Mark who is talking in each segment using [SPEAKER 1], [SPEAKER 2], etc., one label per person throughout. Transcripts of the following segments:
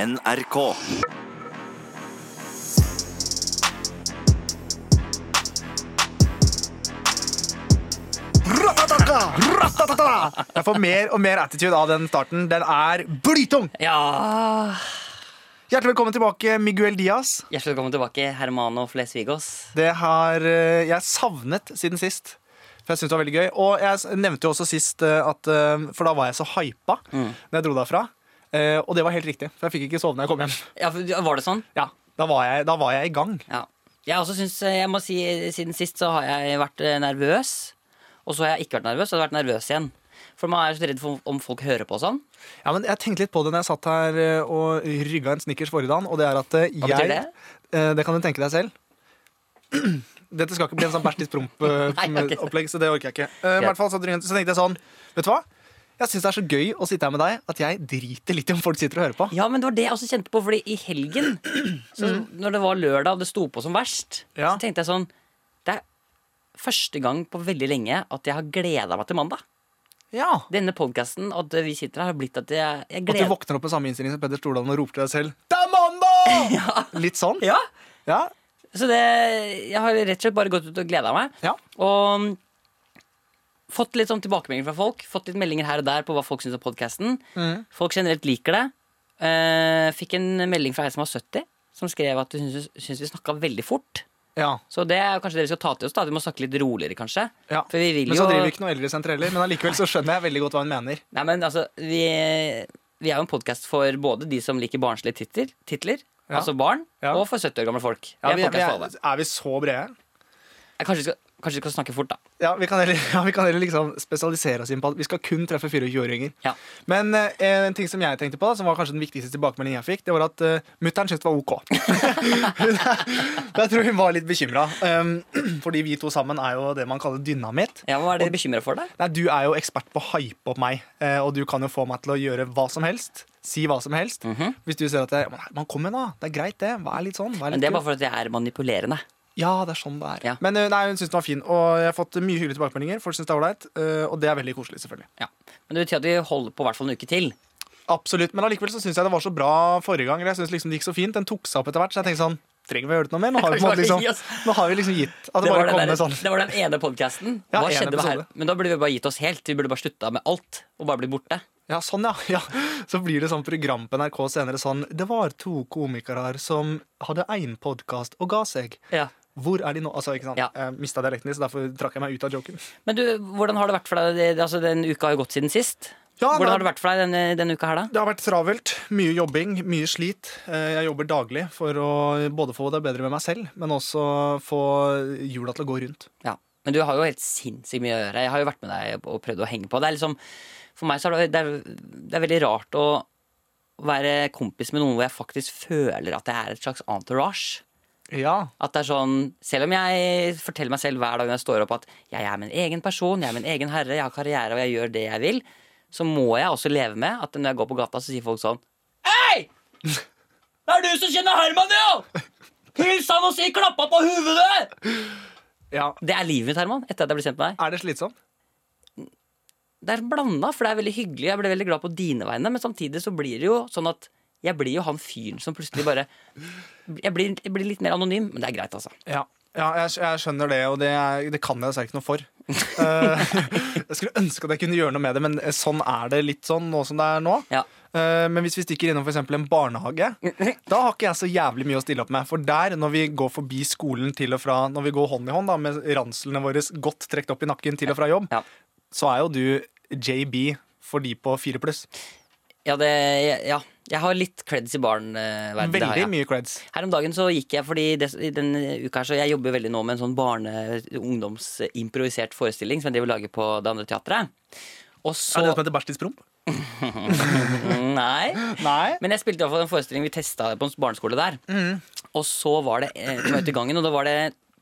[SPEAKER 1] NRK.
[SPEAKER 2] Ratatata! Jeg får mer og mer attitude av den starten. Den er blytung!
[SPEAKER 3] Ja
[SPEAKER 2] Hjertelig velkommen tilbake, Miguel Diaz.
[SPEAKER 3] Hjertelig velkommen tilbake, Hermano Flesvigos.
[SPEAKER 2] Det har eh, jeg savnet siden sist. For jeg synes det var veldig gøy Og jeg s- nevnte jo også sist eh, at eh, For da var jeg så hypa når jeg dro derfra. Eh, Og det var helt riktig, for jeg fikk ikke sove når jeg kom hjem.
[SPEAKER 3] Ja, for- ja, var det sånn?
[SPEAKER 2] Ja, Da var jeg, da var jeg i gang.
[SPEAKER 3] Ja. Jeg også synes, jeg må si, siden sist så har jeg vært eh, nervøs. Og så har jeg ikke vært nervøs, og så har jeg vært nervøs igjen. For man er så redd for om folk hører på og sånn.
[SPEAKER 2] Ja, men Jeg tenkte litt på det når jeg satt her eh, og rygga en snickers forrige dagen. Og det er at eh, jeg
[SPEAKER 3] Hva betyr det?
[SPEAKER 2] Eh, Det kan du tenke deg selv. Dette skal ikke bli en sånn bæsj i
[SPEAKER 3] Nei, ok.
[SPEAKER 2] promp-opplegg, så det orker jeg ikke. Eh, I
[SPEAKER 3] Greit.
[SPEAKER 2] hvert fall så så tenkte jeg sånn, vet du hva? Jeg syns det er så gøy å sitte her med deg at jeg driter litt i om folk sitter og hører på.
[SPEAKER 3] Ja, men det var det jeg også kjente på, fordi i helgen, så når det var lørdag og det sto på som verst,
[SPEAKER 2] Mm. Ja.
[SPEAKER 3] så tenkte jeg sånn Det er første gang på veldig lenge at jeg har gleda meg til mandag.
[SPEAKER 2] Ja.
[SPEAKER 3] Denne podkasten og at vi sitter her, har blitt at jeg, jeg
[SPEAKER 2] At du
[SPEAKER 3] gleder
[SPEAKER 2] våkner opp med samme innstilling som Peder Stordalen og roper til deg selv 'Det er mandag!' Litt sånn.
[SPEAKER 3] Ja,
[SPEAKER 2] Ja.
[SPEAKER 3] Så det, jeg har rett og slett bare gått ut og gleda meg.
[SPEAKER 2] Ja.
[SPEAKER 3] Og mm, fått litt sånn tilbakemeldinger fra folk. Fått litt meldinger her og der på hva folk syns om podkasten.
[SPEAKER 2] Mm.
[SPEAKER 3] Folk generelt liker det. Eh, fikk en melding fra ei som var 70, som skrev at hun syns syns vi snakka veldig fort.
[SPEAKER 2] ja.
[SPEAKER 3] Så det er kanskje dere skal ta til oss. da Vi må snakke litt roligere, kanskje.
[SPEAKER 2] ja.
[SPEAKER 3] For vi vil
[SPEAKER 2] men så
[SPEAKER 3] jo
[SPEAKER 2] driver vi ikke noe eldresenter heller. Men allikevel så skjønner jeg veldig godt hva hun mener.
[SPEAKER 3] Nei, men altså, vi, vi er jo en podkast for både de som liker barnslige titler, titler
[SPEAKER 2] Ja.
[SPEAKER 3] altså barn,
[SPEAKER 2] Ja.
[SPEAKER 3] og for 70 år gamle folk.
[SPEAKER 2] Ja, vi,
[SPEAKER 3] vi, er en
[SPEAKER 2] vi
[SPEAKER 3] podcast for
[SPEAKER 2] er,
[SPEAKER 3] alle.
[SPEAKER 2] er vi så brede?
[SPEAKER 3] Jeg Kanskje vi skal, kanskje vi skal snakke fort, da.
[SPEAKER 2] Ja, vi kan heller, ja, vi kan heller liksom spesialisere oss inn på at vi skal kun treffe 24-åringer.
[SPEAKER 3] Ja.
[SPEAKER 2] Men eh, en ting som jeg tenkte på, som var kanskje den viktigste tilbakemeldingen jeg fikk, det var at uh, mutter'n syntes det var ok. Hun er- jeg tror hun var litt bekymra. Um, fordi vi to sammen er jo det man kaller dynamitt.
[SPEAKER 3] Ja, Hva er dere bekymra for, da?
[SPEAKER 2] Nei, Du er jo ekspert på å hype opp meg, eh, og du kan jo få meg til å gjøre hva som helst. Si hva som helst.
[SPEAKER 3] Mhm.
[SPEAKER 2] Hvis du ser at jeg, man, man kommer da, det er greit det, vær litt sånn. Vær litt
[SPEAKER 3] Men det er
[SPEAKER 2] kul.»
[SPEAKER 3] bare for at jeg er manipulerende.
[SPEAKER 2] Ja, det er sånn det er.
[SPEAKER 3] Ja.
[SPEAKER 2] Men eh, nei, hun syns den var fin, og jeg har fått mye hyggelige tilbakemeldinger. Folk syns det er ålreit, eh, og det er veldig koselig, selvfølgelig.
[SPEAKER 3] Ja. Men det betyr at vi holder på i hvert fall en uke til.
[SPEAKER 2] Absolutt, Men allikevel så syns jeg det var så bra forrige gang. eller Jeg synes liksom det gikk så fint, Den tok seg opp etter hvert, så jeg tenkte sånn Trenger vi å gjøre det noe mer? Nå har vi, på en måte
[SPEAKER 3] Gi oss.
[SPEAKER 2] liksom, nå har vi liksom gitt. At det,
[SPEAKER 3] var
[SPEAKER 2] bare
[SPEAKER 3] den
[SPEAKER 2] kom
[SPEAKER 3] der-
[SPEAKER 2] med sånn.
[SPEAKER 3] det var den ene podkasten.
[SPEAKER 2] Ja,
[SPEAKER 3] Hva
[SPEAKER 2] en
[SPEAKER 3] skjedde med her?
[SPEAKER 2] episode.
[SPEAKER 3] Men da burde vi bare gitt oss helt. Vi burde bare slutta med alt og bare bli borte.
[SPEAKER 2] Ja, sånn, ja. ja. Så blir det sånn program på NRK senere sånn Det var to komikere her som hadde én podkast og ga seg.
[SPEAKER 3] Ja.
[SPEAKER 2] Hvor er de nå? Altså, ikke sant?
[SPEAKER 3] Ja.
[SPEAKER 2] Jeg mista dialekten din, så derfor trakk jeg meg ut av joken.
[SPEAKER 3] Men du, hvordan har det vært for deg? Det- Altså, den uka har jo gått siden sist.
[SPEAKER 2] Ja,
[SPEAKER 3] hvordan
[SPEAKER 2] nei.
[SPEAKER 3] har det vært for deg denne, denne uka her, da?
[SPEAKER 2] Det har vært travelt. Mye jobbing, mye slit. Eh, Jeg jobber daglig for å både få det bedre med meg selv, men også få hjula til å gå rundt.
[SPEAKER 3] Ja. Men du har jo helt sinnssykt mye å gjøre. Jeg har jo vært med deg og prøvd å henge på. Det er liksom, for meg så er det, det, er, det er veldig rart å være kompis med noen hvor jeg faktisk føler at jeg er et slags entourage.
[SPEAKER 2] Ja.
[SPEAKER 3] At det er sånn, Selv om jeg forteller meg selv hver dag når jeg står opp at jeg er min egen person, jeg er min egen herre, jeg har karriere og jeg gjør det jeg vil, så må jeg også leve med at når jeg går på gata, så sier folk sånn Hei! Det er du som kjenner Herman, ja! Hils ham og si 'klappa på huvudet'!
[SPEAKER 2] ja.
[SPEAKER 3] Det er livet mitt, Herman, etter at jeg ble kjent med deg.
[SPEAKER 2] Er det slitsomt?
[SPEAKER 3] Det er blanda, for det er veldig hyggelig. Jeg ble veldig glad på dine vegne, men samtidig så blir det jo sånn at jeg blir jo han fyren som plutselig bare Jeg blir, jeg blir litt mer anonym, men det er greit, altså.
[SPEAKER 2] Ja. ja jeg, skj- jeg skjønner det, og det, er, det kan jeg dessverre ikke noe for. Eh, jeg skulle ønske at jeg kunne gjøre noe med det, men sånn er det litt sånn nå som det er nå.
[SPEAKER 3] Ja.
[SPEAKER 2] Eh, Men hvis vi stikker innom for eksempel en barnehage, da har ikke jeg så jævlig mye å stille opp med. For der, når vi går forbi skolen til og fra, når vi går hånd i hånd da, med ranslene våre godt trukket opp i nakken til og fra jobb,
[SPEAKER 3] Ja.
[SPEAKER 2] så er jo du JB for de på fire pluss.
[SPEAKER 3] Ja, det, ja. Jeg har litt creds i barneverdenen. det har
[SPEAKER 2] Veldig
[SPEAKER 3] jeg.
[SPEAKER 2] mye creds.
[SPEAKER 3] Her om dagen så gikk jeg, fordi det, i denne uka her, så jeg jobber veldig nå med en sånn barne-ungdomsimprovisert forestilling som jeg driver og lager på det andre teatret. Og så
[SPEAKER 2] Er det det som heter bæsjtidspromp?
[SPEAKER 3] Nei.
[SPEAKER 2] Nei. Mm.
[SPEAKER 3] Men jeg spilte i hvert fall en forestilling vi testa på en barneskole der. Og så var det eh, vi var ute i gangen, og da var det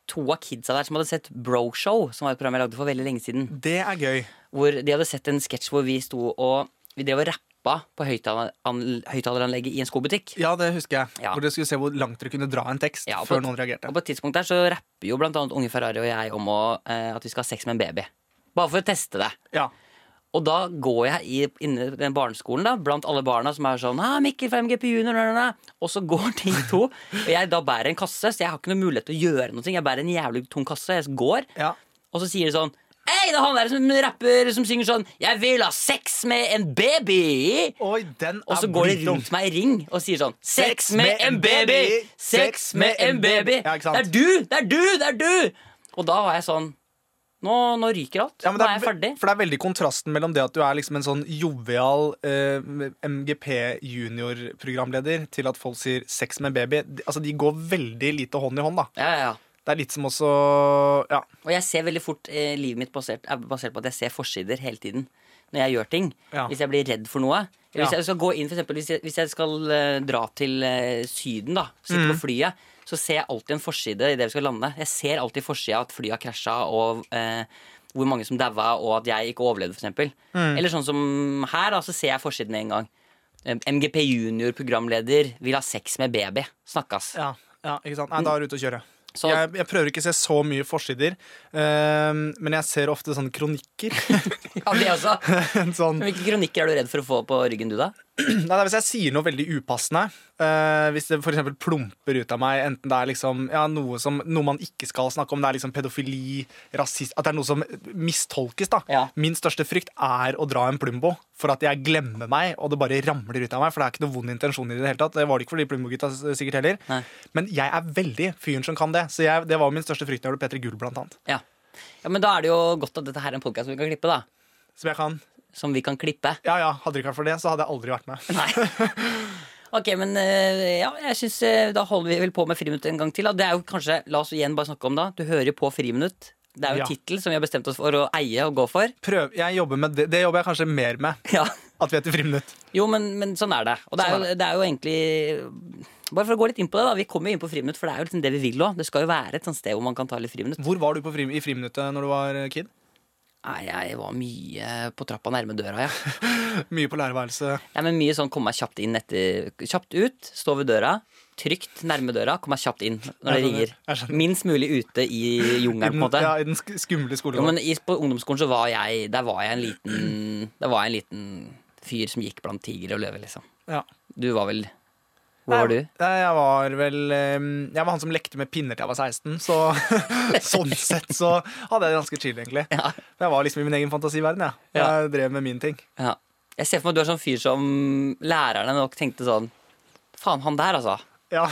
[SPEAKER 3] to av kidsa der som hadde sett Broshow, som var et program jeg lagde for veldig lenge siden.
[SPEAKER 2] Det er gøy.
[SPEAKER 3] Hvor de hadde sett en sketsj hvor vi sto og vi drev og rappa på høyttaler- an- høyttaleranlegget i en skobutikk.
[SPEAKER 2] Ja, det husker jeg.
[SPEAKER 3] Ja.
[SPEAKER 2] Hvor dere skulle se hvor langt dere kunne dra en tekst
[SPEAKER 3] Ja, og på
[SPEAKER 2] før
[SPEAKER 3] et-
[SPEAKER 2] noen reagerte.
[SPEAKER 3] Og på et tidspunkt der så rapper jo blant annet Unge Ferrari og jeg om å, eh, at vi skal ha sex med en baby. Bare for å teste det.
[SPEAKER 2] Ja.
[SPEAKER 3] Og da går jeg i, inne i den barneskolen da, blant alle barna som er sånn ah, 'Mikkel fra MGP Junior', næ, næ, næ». og så går de to. Og jeg da bærer en kasse, så jeg har ikke noe mulighet til å gjøre noe. Jeg bærer en jævlig tung kasse. Jeg går.
[SPEAKER 2] Ja.
[SPEAKER 3] Og så sier de sånn Hei, det er han der som rapper som synger sånn 'Jeg vil ha sex med en baby'.
[SPEAKER 2] Oi, den er
[SPEAKER 3] Og så går de
[SPEAKER 2] blitt
[SPEAKER 3] rundt meg i ring og sier sånn Sex med en baby! Sex med en baby!
[SPEAKER 2] Ja, ikke sant?
[SPEAKER 3] Det er du! Det er du! Det er du! Og da var jeg sånn Nå, nå ryker alt.
[SPEAKER 2] Ja, men
[SPEAKER 3] nå
[SPEAKER 2] det
[SPEAKER 3] er jeg ferdig.
[SPEAKER 2] For det er veldig kontrasten mellom det at du er liksom en sånn jovial eh, MGP junior-programleder, til at folk sier 'sex med baby'. De- Altså, De går veldig lite hånd i hånd. da
[SPEAKER 3] Ja, ja, ja.
[SPEAKER 2] Det er litt som også Ja.
[SPEAKER 3] Og jeg ser veldig fort eh, livet mitt basert, er basert på at jeg ser forsider hele tiden. Når jeg gjør ting.
[SPEAKER 2] Ja.
[SPEAKER 3] Hvis jeg blir redd for noe. Eller
[SPEAKER 2] Ja.
[SPEAKER 3] hvis jeg skal gå inn, for eksempel, hvis jeg, hvis jeg skal eh, dra til eh, Syden, da, sitte
[SPEAKER 2] Mm.
[SPEAKER 3] på flyet, så ser jeg alltid en forside idet vi skal lande. Jeg ser alltid forsida at flyet har krasja, og eh, hvor mange som daua, og at jeg ikke overlevde, f.eks. Mm. Eller sånn som her, da, så ser jeg forsiden med en gang. Eh, MGP junior-programleder vil ha sex med baby. Snakkes.
[SPEAKER 2] ja, ja ikke sant? Nei, da er du ute å kjøre.
[SPEAKER 3] Så-
[SPEAKER 2] Jeg, jeg prøver ikke å se så mye forsider, eh, men jeg ser ofte sånne kronikker.
[SPEAKER 3] Ja, det også.
[SPEAKER 2] en sånn
[SPEAKER 3] Hvilke kronikker er du redd for å få på ryggen, du, da?
[SPEAKER 2] Nei, det er Hvis jeg sier noe veldig upassende, eh, hvis det f.eks. plumper ut av meg, enten det er liksom, ja, noe, som, noe man ikke skal snakke om, det er liksom pedofili, rasist At det er noe som mistolkes. da.
[SPEAKER 3] Ja.
[SPEAKER 2] Min største frykt er å dra en Plumbo for at jeg glemmer meg, og det bare ramler ut av meg. For det er ikke noe vond intensjon i det hele tatt. Det var det ikke for de Plumbo-gutta s- sikkert heller.
[SPEAKER 3] Nei.
[SPEAKER 2] Men jeg er veldig fyren som kan det. Så jeg, det var min største frykt da jeg gjorde Petter Gull, blant annet.
[SPEAKER 3] Ja. ja, men da er det jo godt at dette her er en podkast som vi kan klippe, da.
[SPEAKER 2] Som jeg kan.
[SPEAKER 3] Som vi kan klippe.
[SPEAKER 2] Ja ja, hadde det ikke vært for det, så hadde jeg aldri vært med.
[SPEAKER 3] Nei. Ok, men eh, ja, jeg synes eh, da holder vi vel på med Friminutt en gang til. Da. Det er jo kanskje, La oss igjen bare snakke om da. Du hører jo på Friminutt. Det er jo
[SPEAKER 2] Ja.
[SPEAKER 3] en tittel som vi har bestemt oss for å eie og gå for.
[SPEAKER 2] Prøv, jeg jobber med det, det jobber jeg kanskje mer med.
[SPEAKER 3] Ja.
[SPEAKER 2] At vi heter Friminutt.
[SPEAKER 3] Jo, men, men sånn er det. Og det er,
[SPEAKER 2] Sånn er
[SPEAKER 3] jo, det er jo egentlig Bare for å gå litt inn på det, da. Vi kommer jo inn på Friminutt, for det er jo liksom det vi vil òg. Det skal jo være et sånt sted hvor man kan ta litt friminutt.
[SPEAKER 2] Hvor var du på frim i friminuttet når du var eh, kid?
[SPEAKER 3] Nei, jeg var mye på trappa nærme døra, ja.
[SPEAKER 2] Mye på lærerværelset.
[SPEAKER 3] Nei, men mye sånn komme meg kjapt inn etter Kjapt ut, stå ved døra Trygt nærme døra, komme meg kjapt inn når det
[SPEAKER 2] Jeg skjønner,
[SPEAKER 3] ringer
[SPEAKER 2] jeg skjønner.
[SPEAKER 3] Minst mulig ute i
[SPEAKER 2] I
[SPEAKER 3] jungelen på en
[SPEAKER 2] den,
[SPEAKER 3] måte
[SPEAKER 2] ja, i den sk skumle
[SPEAKER 3] jo,
[SPEAKER 2] skolegården.
[SPEAKER 3] men i, på ungdomsskolen så var jeg Der var jeg en liten Der var jeg en liten fyr som gikk blant tiger og løve liksom
[SPEAKER 2] Ja.
[SPEAKER 3] Du var vel Hvor var du?
[SPEAKER 2] Nei, Jeg var vel eh, Jeg var han som lekte med pinner til jeg var 16, så sånn sett så hadde jeg det ganske chill, egentlig.
[SPEAKER 3] Ja.
[SPEAKER 2] Men Jeg var liksom i min egen fantasiverden, jeg.
[SPEAKER 3] Ja.
[SPEAKER 2] Jeg drev med min ting.
[SPEAKER 3] Ja Jeg ser for meg at du er sånn fyr som lærerne nok tenkte sånn Faen han der altså
[SPEAKER 2] Ja,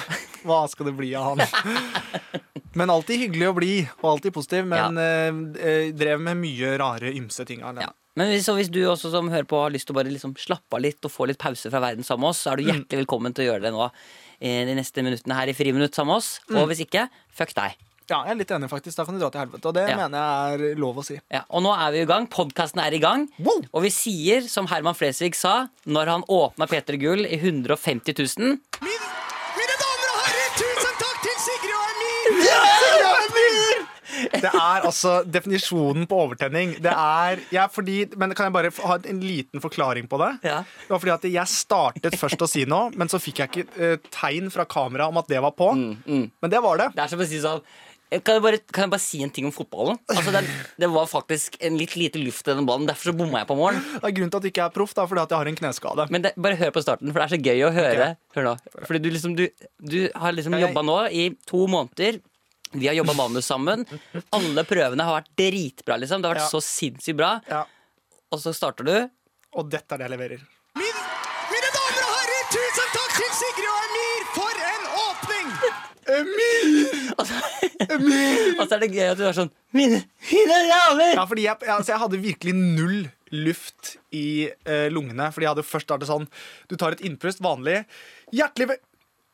[SPEAKER 2] hva skal det bli av han? Men alltid hyggelig å bli, og alltid positiv. Men eh, eh, drev med mye rare, ymse ting. alene.
[SPEAKER 3] ja. Men hvis, så hvis du også som hører på har lyst til å bare liksom slappe av litt og få litt pause fra verden sammen med oss, så er du hjertelig velkommen til å gjøre det nå eh, de neste minuttene her i Friminutt sammen med oss. Og hvis ikke, fuck deg.
[SPEAKER 2] ja, jeg er litt enig, faktisk. Da kan du dra til helvete. Og det
[SPEAKER 3] Ja.
[SPEAKER 2] mener jeg er lov å si.
[SPEAKER 3] Ja, og nå er vi i gang. Podkasten er i gang.
[SPEAKER 2] Wow!
[SPEAKER 3] Og vi sier, som Herman Flesvig sa, når han åpna Peter Gull i 150 000
[SPEAKER 1] Mine, mine damer og herrer, tusen takk til Sigrid og Emil! Sigrid og Emil!
[SPEAKER 2] Det er altså definisjonen på overtenning. Det er, jeg, fordi, men Kan jeg bare ha en liten forklaring på det?
[SPEAKER 3] Ja.
[SPEAKER 2] Det var fordi at Jeg startet først å si noe, men så fikk jeg ikke eh, tegn fra kamera om at det var på.
[SPEAKER 3] Mm,
[SPEAKER 2] Men det var det.
[SPEAKER 3] Det er som å si sånn kan jeg, bare, kan jeg bare si en ting om fotballen? Altså, det, det var faktisk en litt lite luft i den ballen. Derfor så bomma jeg på målen.
[SPEAKER 2] Det er grunnen til at jeg ikke er proff, da, fordi at jeg har en kneskade.
[SPEAKER 3] Men det, bare hør på starten, for det er så gøy å høre. Hør nå. Fordi du liksom Du, du har liksom
[SPEAKER 2] Jeg-
[SPEAKER 3] jobba nå i to måneder. Vi har jobba manus sammen. Alle prøvene har vært dritbra, liksom. Det har vært
[SPEAKER 2] Ja.
[SPEAKER 3] så sinnssykt bra.
[SPEAKER 2] Ja,
[SPEAKER 3] Og så starter du.
[SPEAKER 2] og dette er det jeg leverer.
[SPEAKER 1] Mine, mine damer og herrer, tusen takk til Sigrid og Emil! For en åpning! Altså,
[SPEAKER 3] Og så, og så er det gøy at du er sånn Mine, mine damer!
[SPEAKER 2] Ja, fordi jeg, jeg- altså, jeg hadde virkelig null luft i eh, lungene. Fordi jeg hadde først startet sånn Du tar et innpust, vanlig. Hjertelig ve-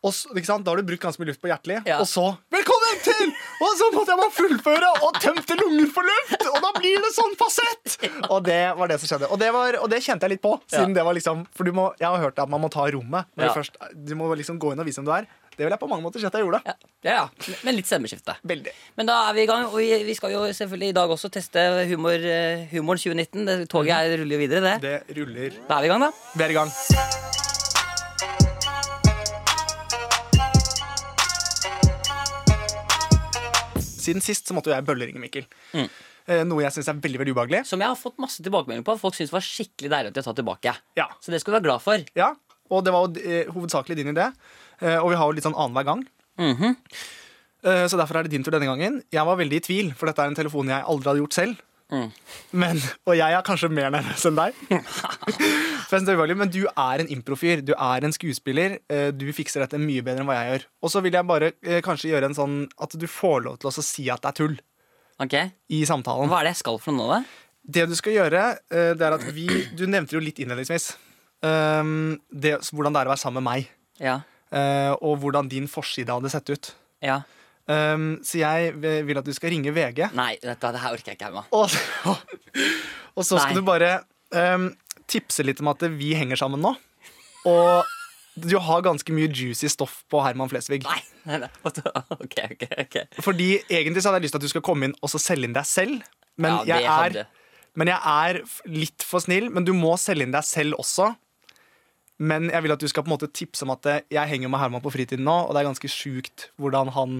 [SPEAKER 2] og så, ikke sant? Da har du brukt ganske mye luft på hjertelig.
[SPEAKER 3] Ja.
[SPEAKER 2] Og så Velkommen til! Og så måtte jeg bare fullføre og tømte lungen for luft! Og da blir det sånn fasett! Og det var det som skjedde. Og det, var, og det kjente jeg litt på. Siden
[SPEAKER 3] Ja.
[SPEAKER 2] det var liksom For du må, jeg har hørt at man må ta rommet. Når
[SPEAKER 3] Ja.
[SPEAKER 2] du, først, du må liksom gå inn og vise hvem du er. Det vil jeg på mange måter si at jeg gjorde.
[SPEAKER 3] Ja, ja. ja. Men litt stemmeskifte.
[SPEAKER 2] Veldig.
[SPEAKER 3] Men da er vi i gang, og vi, vi skal jo selvfølgelig i dag også teste humor, eh, humoren 2019. Det, toget er, ruller jo videre, det.
[SPEAKER 2] Mhm. Det ruller.
[SPEAKER 3] Da er vi i gang, da.
[SPEAKER 2] Vi er i gang. Siden sist så måtte jo jeg bølleringe Mikkel. eh, noe jeg syns er veldig veldig ubehagelig.
[SPEAKER 3] Som jeg har fått masse tilbakemeldinger på. Folk syns det var skikkelig deilig at jeg tar tilbake.
[SPEAKER 2] Ja.
[SPEAKER 3] Så det skal du være glad for.
[SPEAKER 2] Ja, og det var jo eh, hovedsakelig din idé. Eh, og vi har jo litt sånn annenhver gang.
[SPEAKER 3] Mhm.
[SPEAKER 2] Eh, så derfor er det din tur denne gangen. Jeg var veldig i tvil, for dette er en telefon jeg aldri hadde gjort selv.
[SPEAKER 3] Mm.
[SPEAKER 2] Men, og jeg er kanskje mer nervøs enn deg. For jeg synes det er ubehagelig, Men du er en improfyr. Du er en skuespiller. eh, Du fikser dette mye bedre enn hva jeg gjør. Og så vil jeg bare eh, kanskje gjøre en sånn at du får lov til å også si at det er tull
[SPEAKER 3] Ok,
[SPEAKER 2] i samtalen.
[SPEAKER 3] Hva er det jeg skal for noe nå, da?
[SPEAKER 2] Det du skal gjøre, eh, det er at vi Du nevnte det jo litt innledningsvis. Um, det, hvordan det er å være sammen med meg.
[SPEAKER 3] Ja.
[SPEAKER 2] eh, og hvordan din forside hadde sett ut.
[SPEAKER 3] ja.
[SPEAKER 2] Um, så jeg v- vil at du skal ringe VG,
[SPEAKER 3] Nei, dette, det her orker jeg ikke, Emma.
[SPEAKER 2] og, og så skal du
[SPEAKER 3] Nei.
[SPEAKER 2] bare um, tipse litt om at vi henger sammen nå. Og du har ganske mye juicy stoff på Herman Flesvig.
[SPEAKER 3] Nei, nei, nei. Ok, ok, ok.
[SPEAKER 2] Fordi egentlig så hadde jeg lyst til at du skal komme inn og så selge inn deg selv. Men,
[SPEAKER 3] ja, det
[SPEAKER 2] jeg,
[SPEAKER 3] hadde.
[SPEAKER 2] er, men jeg er f- litt for snill, men du må selge inn deg selv også. Men jeg vil at du skal på en måte tipse om at eh, jeg henger med Herman på fritiden nå, og det er ganske sjukt hvordan han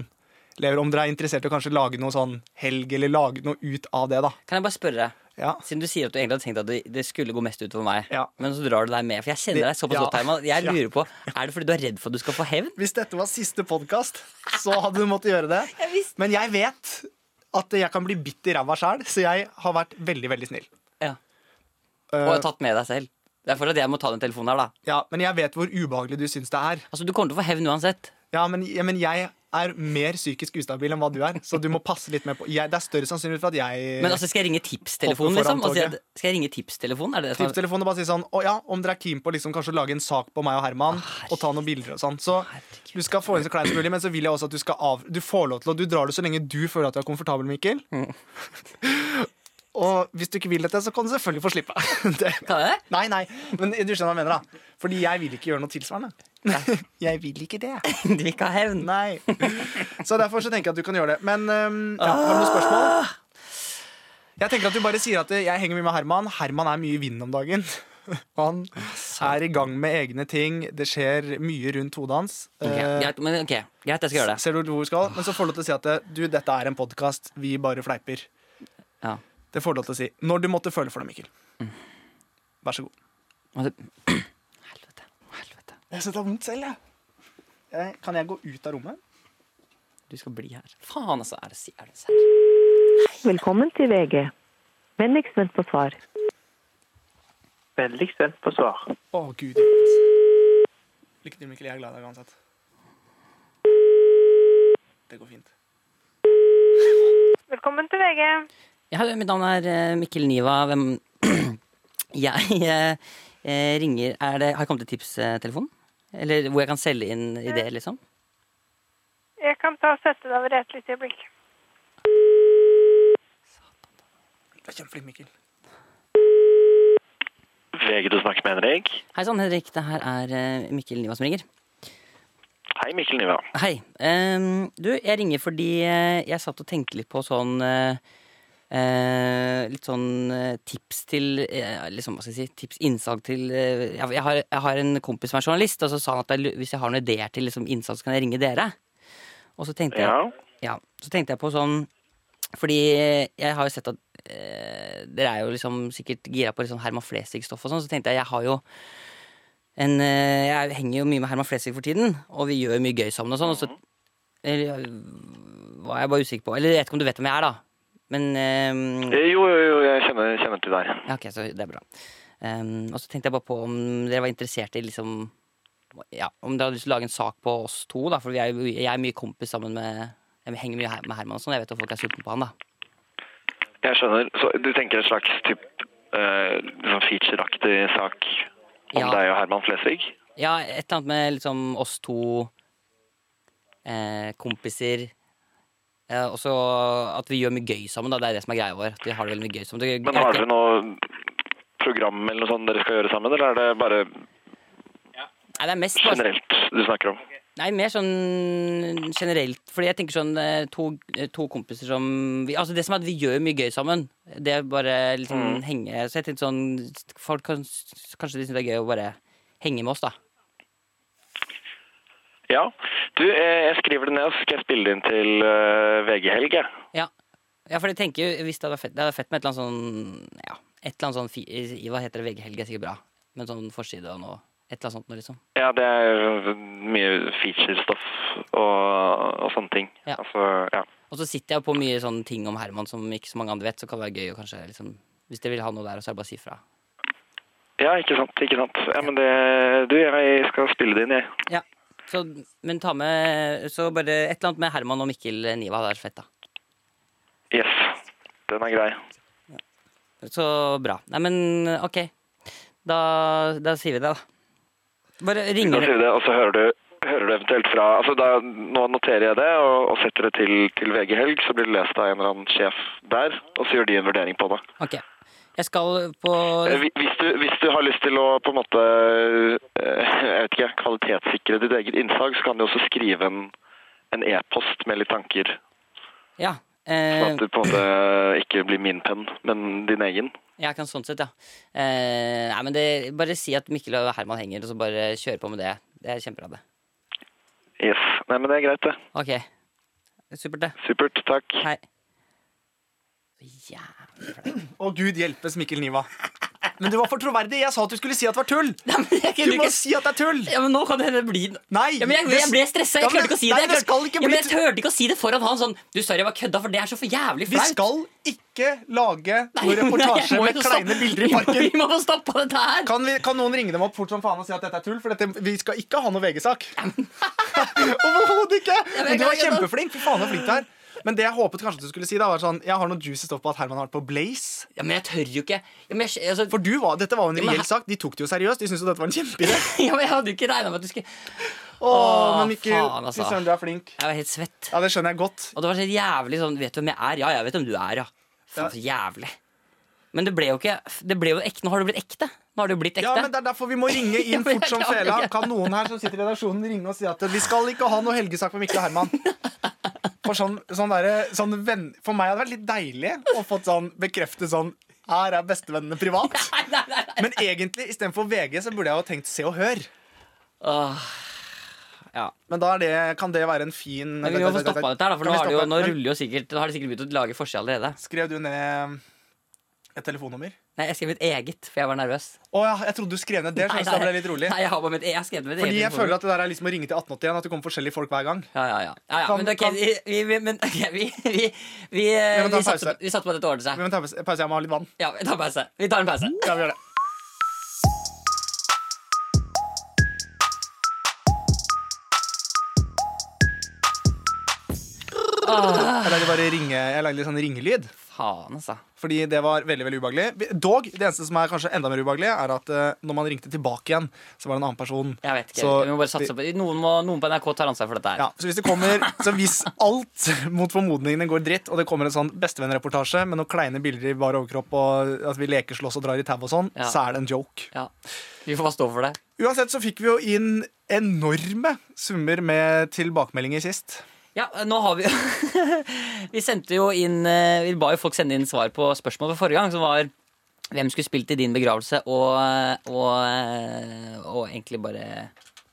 [SPEAKER 2] lever. Om dere er interessert i å kanskje lage noe sånn helg, eller lage noe ut av det, da.
[SPEAKER 3] Kan jeg bare spørre deg?
[SPEAKER 2] Ja.
[SPEAKER 3] Siden du sier at du egentlig hadde tenkt at det, det skulle gå mest ut for meg,
[SPEAKER 2] Ja.
[SPEAKER 3] men så drar du deg med. For jeg kjenner deg såpass
[SPEAKER 2] Ja.
[SPEAKER 3] godt, Herman. Jeg
[SPEAKER 2] Ja.
[SPEAKER 3] lurer på, Er det fordi du er redd for at du skal få hevn?
[SPEAKER 2] Hvis dette var siste podkast, så hadde du måttet gjøre det. Men jeg vet at jeg kan bli bitt i ræva sjæl, så jeg har vært veldig, veldig snill.
[SPEAKER 3] Ja.
[SPEAKER 2] Eh,
[SPEAKER 3] Og har tatt med deg selv. Det er for at jeg må ta den telefonen her, da.
[SPEAKER 2] ja, men jeg vet hvor ubehagelig du syns det er.
[SPEAKER 3] Altså, Du kommer til å få hevn uansett.
[SPEAKER 2] Ja, men, ja, men jeg er mer psykisk ustabil enn hva du er, så du må passe litt mer på. Jeg, det er større sannsynlighet for at jeg
[SPEAKER 3] Men altså, skal jeg ringe tipstelefonen,
[SPEAKER 2] Hoppe foran
[SPEAKER 3] liksom? Altså, jeg,
[SPEAKER 2] toget.
[SPEAKER 3] skal jeg ringe tipstelefonen? Er det det som er
[SPEAKER 2] Tipstelefonen og bare si sånn Å ja, om dere er keen på liksom kanskje å lage en sak på meg og Herman og ta noen bilder og sånn. Så
[SPEAKER 3] Herregud.
[SPEAKER 2] du skal få inn så kleint som mulig, men så vil jeg også at du skal av Du får lov til å Du drar det så lenge du føler at du er komfortabel, Mikkel.
[SPEAKER 3] Mm.
[SPEAKER 2] og hvis du ikke vil dette, så kan du selvfølgelig få slippe. det.
[SPEAKER 3] Kan jeg det?
[SPEAKER 2] Nei, nei, men du skjønner hva jeg mener, da. Fordi jeg vil ikke gjøre noe tilsvarende. jeg vil ikke det.
[SPEAKER 3] Du vil ikke ha hevn?
[SPEAKER 2] Nei. Så derfor så tenker jeg at du kan gjøre det. Men øhm, ja, har du noen spørsmål?
[SPEAKER 3] Ah.
[SPEAKER 2] Jeg tenker at du bare sier at eh, jeg henger mye med Herman. Herman er mye i vinden om dagen. Han
[SPEAKER 3] Ah,
[SPEAKER 2] er i gang med egne ting. Det skjer mye rundt hodet hans.
[SPEAKER 3] Ok,
[SPEAKER 2] Eh,
[SPEAKER 3] greit, men, ok, greit, jeg skal gjøre det.
[SPEAKER 2] Ser du hvor vi skal? Men så får du lov til å si at eh, du, dette er en podkast, vi bare fleiper.
[SPEAKER 3] Ja.
[SPEAKER 2] Det får du lov til å si. Når du måtte føle for det, Mikkel.
[SPEAKER 3] Mm.
[SPEAKER 2] Vær så god.
[SPEAKER 3] Altså, Helvete. Helvete.
[SPEAKER 2] Jeg syns det er vondt selv, jeg. jeg. Kan jeg gå ut av rommet?
[SPEAKER 3] Du skal bli her. Faen, altså. Er det, si- er det serr?
[SPEAKER 4] Velkommen til VG. Vennligst vent på svar.
[SPEAKER 5] Vennligst vent på svar.
[SPEAKER 2] Å, gud hjelpes. Lykke til, Mikkel. Jeg er glad i deg uansett. Det går fint.
[SPEAKER 6] Velkommen til VG.
[SPEAKER 3] Ja, hallo, mitt navn er eh, Mikkel Niva. Hvem Jeg eh, eh, ringer er det, Har jeg kommet til tipstelefonen? Eller hvor jeg kan selge inn ideer, liksom?
[SPEAKER 6] Jeg kan ta og sette deg over et lite øyeblikk.
[SPEAKER 2] Du er kjempeflink, Mikkel.
[SPEAKER 5] VG, du snakker med Henrik.
[SPEAKER 3] Hei sann, Henrik. Det her er eh, Mikkel Niva som ringer.
[SPEAKER 5] Hei, Mikkel Niva.
[SPEAKER 3] Hei. Ehm, du, jeg ringer fordi eh, jeg satt og tenkte litt på sånn eh, eh, Litt sånn eh, tips til eh, liksom, Hva skal jeg si? Tips, innsalg til eh, jeg, jeg, har, jeg har en kompis som er journalist, og så sa han at jeg, lu- hvis jeg har noen ideer til liksom, innsalg, så kan jeg ringe dere. Og så tenkte jeg,
[SPEAKER 5] Ja.
[SPEAKER 3] ja, så tenkte jeg på sånn Fordi jeg har jo sett at eh, dere er jo liksom sikkert gira på litt sånn Herman Flesvig-stoff og sånn, så tenkte jeg jeg har jo en, eh, jeg henger jo mye med Herman Flesvig for tiden, og vi gjør mye gøy sammen og sånn. Og så eller, øh, var jeg bare usikker på Eller jeg vet ikke om du vet hvem jeg er, da. Men eh,
[SPEAKER 5] Eh, Jo, jo, jo, jeg kjenner, kjenner til deg.
[SPEAKER 3] ja, ok, så det er bra. Ehm, og så tenkte jeg bare på om dere var interessert i liksom Ja, om dere hadde lyst til å lage en sak på oss to, da, for vi er, jo- jeg er mye kompis sammen med Jeg henger mye her- med Herman og sånn, jeg vet at folk er sultne på han, da.
[SPEAKER 5] Jeg skjønner. Så du tenker et slags typ, eh, liksom featureaktig sak om
[SPEAKER 3] Ja.
[SPEAKER 5] deg og Herman Flesvig?
[SPEAKER 3] Ja, et eller annet med liksom oss to eh, kompiser. Eh, og så at vi gjør mye gøy sammen, da. Det er det som er greia vår. At vi har det veldig mye gøy sammen. Det-
[SPEAKER 5] Men
[SPEAKER 3] jeg
[SPEAKER 5] har
[SPEAKER 3] vet
[SPEAKER 5] dere noe program eller noe sånt dere skal gjøre sammen, eller er det bare
[SPEAKER 3] ikke- Nei, det er mest bare
[SPEAKER 5] generelt du snakker om?
[SPEAKER 3] Nei, mer sånn generelt. Fordi jeg tenker sånn eh, to, eh, to kompiser som vi, Altså det som er at vi gjør mye gøy sammen. Det er bare liksom henge Så jeg tenkte sånn Folk kan, Kanskje de syns det er gøy å bare henge med oss, da.
[SPEAKER 5] Ja. Du, eh, jeg skriver det ned, og så skal jeg spille det inn til eh, VG Helg, jeg.
[SPEAKER 3] Ja. Ja, for jeg tenker jo, hvis det hadde vært fett, det hadde vært fett med et eller annet sånn Ja, et eller annet sånn fi- i- Hva heter det? VG-helg er sikkert bra. Men sånn forside og noe. Et eller annet sånt noe, liksom.
[SPEAKER 5] Ja, det er mye featurestoff og, og sånne ting.
[SPEAKER 3] Ja.
[SPEAKER 5] Altså, ja.
[SPEAKER 3] Og så sitter jeg på mye sånne ting om Herman som ikke så mange andre vet, så kan det være gøy å kanskje liksom Hvis dere vil ha noe der, så er det bare å si fra.
[SPEAKER 5] ja, ikke sant. ikke sant. Ja, men det, Du, jeg skal spille det inn, jeg.
[SPEAKER 3] Ja. Så, men ta med Så bare et eller annet med Herman og Mikkel Niva. Det er fett, da.
[SPEAKER 5] Yes. Den er grei.
[SPEAKER 3] Så bra. Nei, men OK. Da, da sier vi det, da. Bare
[SPEAKER 5] Da
[SPEAKER 3] ringer
[SPEAKER 5] sier vi det, og så hører du, hører du eventuelt fra altså da, Nå noterer jeg det og, og setter det til, til VG Helg, så blir det lest av en eller annen sjef der, og så gjør de en vurdering på det.
[SPEAKER 3] OK. Jeg skal på
[SPEAKER 5] Eh, hvi- Hvis du, hvis du har lyst til å på en måte eh, jeg vet ikke, kvalitetssikre ditt eget innslag, så kan du også skrive en en e-post med litt tanker,
[SPEAKER 3] Ja.
[SPEAKER 5] sånn
[SPEAKER 3] Eh,
[SPEAKER 5] at du på en måte ikke blir min penn, men din egen.
[SPEAKER 3] Jeg kan sånn sett, ja. Eh, nei, men det, bare si at Mikkel og Herman henger, og så bare kjøre på med det. Det er kjempebra, det.
[SPEAKER 5] Yes. Nei, men det er greit, det.
[SPEAKER 3] Ok. Supert, det.
[SPEAKER 5] Supert. Takk.
[SPEAKER 3] Hei. Jævlig flaut.
[SPEAKER 2] Å, gud hjelpes, Mikkel Niva. Men du var for troverdig. Jeg sa at du skulle si at det var tull.
[SPEAKER 3] Nei, men jeg
[SPEAKER 2] Du
[SPEAKER 3] kunne
[SPEAKER 2] må
[SPEAKER 3] ikke
[SPEAKER 2] si at det er tull!
[SPEAKER 3] ja, men nå kan det hende bli
[SPEAKER 2] Nei,
[SPEAKER 3] ja, men jeg, jeg ble stressa. Jeg
[SPEAKER 2] Ja, men
[SPEAKER 3] klarte ikke å si
[SPEAKER 2] nei,
[SPEAKER 3] det. Jeg
[SPEAKER 2] det skal
[SPEAKER 3] klarte,
[SPEAKER 2] ikke
[SPEAKER 3] ja, men
[SPEAKER 2] bli
[SPEAKER 3] jeg turte ikke å si det foran han sånn Du, sorry, jeg bare kødda, for det er så for jævlig
[SPEAKER 2] Vi
[SPEAKER 3] flaut.
[SPEAKER 2] skal ikke lage
[SPEAKER 3] Nei,
[SPEAKER 2] noen reportasje
[SPEAKER 3] jeg må
[SPEAKER 2] med
[SPEAKER 3] jo
[SPEAKER 2] kleine
[SPEAKER 3] stoppe-
[SPEAKER 2] bilder i
[SPEAKER 3] Vi må-
[SPEAKER 2] parken.
[SPEAKER 3] Vi må få stoppa dette her.
[SPEAKER 2] Kan, vi, kan noen ringe dem opp fort som faen og si at dette er tull? For dette, vi skal ikke ha noe VG-sak. Overhodet ikke!
[SPEAKER 3] men jeg
[SPEAKER 2] Men du var
[SPEAKER 3] kan ikke da.
[SPEAKER 2] kjempeflink. Fy faen, så flink du er. Men det jeg håpet kanskje du skulle si, da, var sånn Jeg har noen juices opp på at Herman har vært på Blaze.
[SPEAKER 3] Ja, men jeg tør jo ikke. Ja, men jeg, altså,
[SPEAKER 2] For du var, dette var jo en
[SPEAKER 3] Ja, men
[SPEAKER 2] reell
[SPEAKER 3] her-
[SPEAKER 2] sak. De tok det jo seriøst. De syntes jo dette var en kjempeidé.
[SPEAKER 3] ja, men jeg hadde jo ikke regna med at du skulle
[SPEAKER 2] Åh, men Mikkel,
[SPEAKER 3] faen, altså.
[SPEAKER 2] fy søren, du er flink.
[SPEAKER 3] Jeg var helt svett.
[SPEAKER 2] Ja, det skjønner jeg godt.
[SPEAKER 3] Og det var så jævlig sånn Vet du hvem jeg er? Ja, jeg vet hvem du er, ja. Faen, så jævlig. Men det ble jo ikke det ble jo ekte. Nå har det blitt ekte. Nå har det jo blitt ekte.
[SPEAKER 2] Ja, men Det er derfor vi må ringe
[SPEAKER 3] Ja,
[SPEAKER 2] inn
[SPEAKER 3] men jeg
[SPEAKER 2] fort som
[SPEAKER 3] klarer
[SPEAKER 2] fela.
[SPEAKER 3] ikke.
[SPEAKER 2] Kan noen her som sitter i redaksjonen ringe og si at vi skal ikke ha noe helgesak med Mikkel og Herman? For sånn, sånn derre- sånn venn, for meg hadde det vært litt deilig å fått sånn bekreftet sånn Her er bestevennene privat.
[SPEAKER 3] Nei, nei, nei, nei.
[SPEAKER 2] Men egentlig, istedenfor VG, så burde jeg jo tenkt Se og Hør.
[SPEAKER 3] Åh, ja.
[SPEAKER 2] Men da er det, kan det være en fin
[SPEAKER 3] Men vi må få stoppa dette her, da, for
[SPEAKER 2] Kan
[SPEAKER 3] nå,
[SPEAKER 2] vi
[SPEAKER 3] har det jo,
[SPEAKER 2] stoppe?
[SPEAKER 3] nå
[SPEAKER 2] Men
[SPEAKER 3] ruller jo sikkert Nå har de sikkert begynt å lage forside allerede.
[SPEAKER 2] Skrev du ned et telefonnummer?
[SPEAKER 3] Nei, jeg skrev mitt eget, for jeg var nervøs.
[SPEAKER 2] Å ja, jeg trodde du skrev ned det.
[SPEAKER 3] Nei,
[SPEAKER 2] skjønner du, så Da ble
[SPEAKER 3] nei.
[SPEAKER 2] jeg litt rolig.
[SPEAKER 3] Nei, jeg har bare mitt e- jeg har skrevet mitt
[SPEAKER 2] Fordi
[SPEAKER 3] eget
[SPEAKER 2] jeg føler at det der er liksom å ringe til 1881, at det kommer forskjellige folk hver gang.
[SPEAKER 3] Ja, ja, ja. ja, ja
[SPEAKER 2] Kan-
[SPEAKER 3] men ok,
[SPEAKER 2] kan-
[SPEAKER 3] vi, vi, vi, men, ok, vi, vi, vi, eh,
[SPEAKER 2] Ja, men ta
[SPEAKER 3] vi, satte,
[SPEAKER 2] pause.
[SPEAKER 3] vi satte på at dette ordner
[SPEAKER 2] Vi
[SPEAKER 3] seg.
[SPEAKER 2] må ta pause, pause, jeg må ha litt vann.
[SPEAKER 3] Ja, vi tar pause. Vi tar en pause.
[SPEAKER 2] Ja, vi gjør det.
[SPEAKER 3] Ah.
[SPEAKER 2] Jeg lagde bare ringe, jeg lagde litt sånn ringelyd,
[SPEAKER 3] Faen, altså.
[SPEAKER 2] fordi det var veldig veldig ubehagelig. Dog, det eneste som er kanskje enda mer ubehagelig, er at eh, når man ringte tilbake igjen, så var det en annen person.
[SPEAKER 3] Jeg vet ikke.
[SPEAKER 2] Så
[SPEAKER 3] vi må bare satse på noen, må, noen på NRK tar ansvar for dette her.
[SPEAKER 2] Ja, så hvis det kommer, så hvis alt mot formodningene går dritt, og det kommer en sånn bestevennreportasje med noen kleine bilder i bar overkropp, og at vi leker, slåss og drar i tau og sånn,
[SPEAKER 3] Ja.
[SPEAKER 2] så er det en joke.
[SPEAKER 3] Ja. Vi får bare stå for det.
[SPEAKER 2] Uansett så fikk vi jo inn enorme summer med tilbakemeldinger sist.
[SPEAKER 3] Ja, nå har vi Vi sendte jo inn eh, Vi ba jo folk sende inn svar på spørsmål fra forrige gang, som var hvem skulle spilt i din begravelse, og, og, eh, og egentlig bare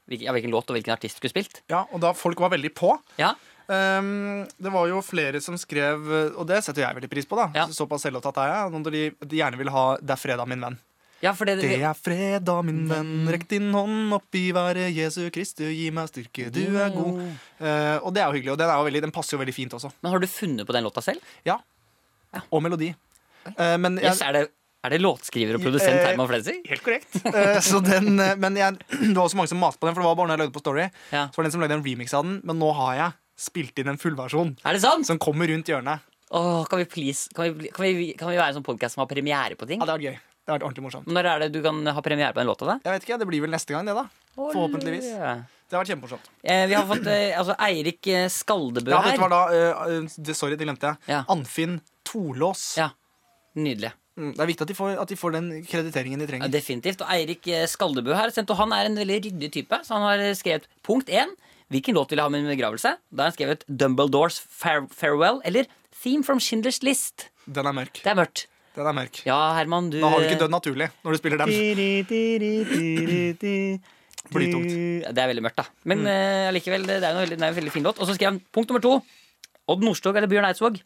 [SPEAKER 3] hvilken, ja, hvilken låt og hvilken artist skulle spilt.
[SPEAKER 2] Ja, og da folk var veldig på.
[SPEAKER 3] Ja,
[SPEAKER 2] Ehm, det var jo flere som skrev, og det setter jeg veldig pris på, da.
[SPEAKER 3] Ja.
[SPEAKER 2] Såpass selvopptatt er jeg. Når de, de gjerne vil ha 'Det er fredag, min venn'.
[SPEAKER 3] ja for det, Mm.
[SPEAKER 2] Det er fredag, min venn, rekk din hånd opp i været. Jesu Kristi, gi meg styrke, du er god. Eh, og det er jo hyggelig, og den, er jo veldig, den passer jo veldig fint også.
[SPEAKER 3] Men har du funnet på den låta selv?
[SPEAKER 2] Ja. Og melodi. Eh, men jeg,
[SPEAKER 3] Yes, er, det, er det låtskriver og produsent
[SPEAKER 2] Eh,
[SPEAKER 3] Herman Flesvig?
[SPEAKER 2] Helt korrekt. Eh, så den, eh, men jeg, det var også mange som maste på den, for det var bare når jeg lagde på Story.
[SPEAKER 3] Ja.
[SPEAKER 2] Så var det en som lagde en remix av den, men nå har jeg spilt inn en fullversjon
[SPEAKER 3] Er det sant?
[SPEAKER 2] som kommer rundt hjørnet.
[SPEAKER 3] Åh, kan, vi please, kan, vi, kan, vi, kan vi være en sånn podkast som har premiere på ting?
[SPEAKER 2] Ja, det har vært gøy. Det har vært ordentlig morsomt.
[SPEAKER 3] Når er det du kan ha premiere på den låta? da?
[SPEAKER 2] Jeg vet ikke, Det blir vel neste gang, det, da. Forhåpentligvis.
[SPEAKER 3] Olje.
[SPEAKER 2] Det har vært kjempemorsomt.
[SPEAKER 3] Eh, vi har fått eh, altså, Eirik eh, Skaldebø
[SPEAKER 2] Ja, dette
[SPEAKER 3] her.
[SPEAKER 2] var da eh, eh, det, Sorry, det glemte jeg.
[SPEAKER 3] Ja.
[SPEAKER 2] Anfinn Torlås.
[SPEAKER 3] Ja, Nydelig.
[SPEAKER 2] Mm, Det er viktig at de, får, at de får den krediteringen de
[SPEAKER 3] Ja,
[SPEAKER 2] trenger.
[SPEAKER 3] definitivt. Og Eirik eh, Skaldebø her sendte, og han er en veldig ryddig type. Så han har eh, skrevet punkt én Hvilken låt vil jeg ha med min begravelse? Da har han skrevet Dumbledores Fare Farewell eller Theme from Schindlers List.
[SPEAKER 2] Den er mørk.
[SPEAKER 3] Det er mørkt.
[SPEAKER 2] Den er mørk.
[SPEAKER 3] Ja, Herman, du eh,
[SPEAKER 2] Da har du ikke dødd naturlig når du spiller den. Blytungt.
[SPEAKER 3] Ja, Det er veldig mørkt, da. Men
[SPEAKER 2] Mm.
[SPEAKER 3] eh, allikevel, det er jo en veldig, det er en veldig fin låt. Og så skrev han punkt nummer to. Odd Nordstoga eller Bjørn Eidsvåg?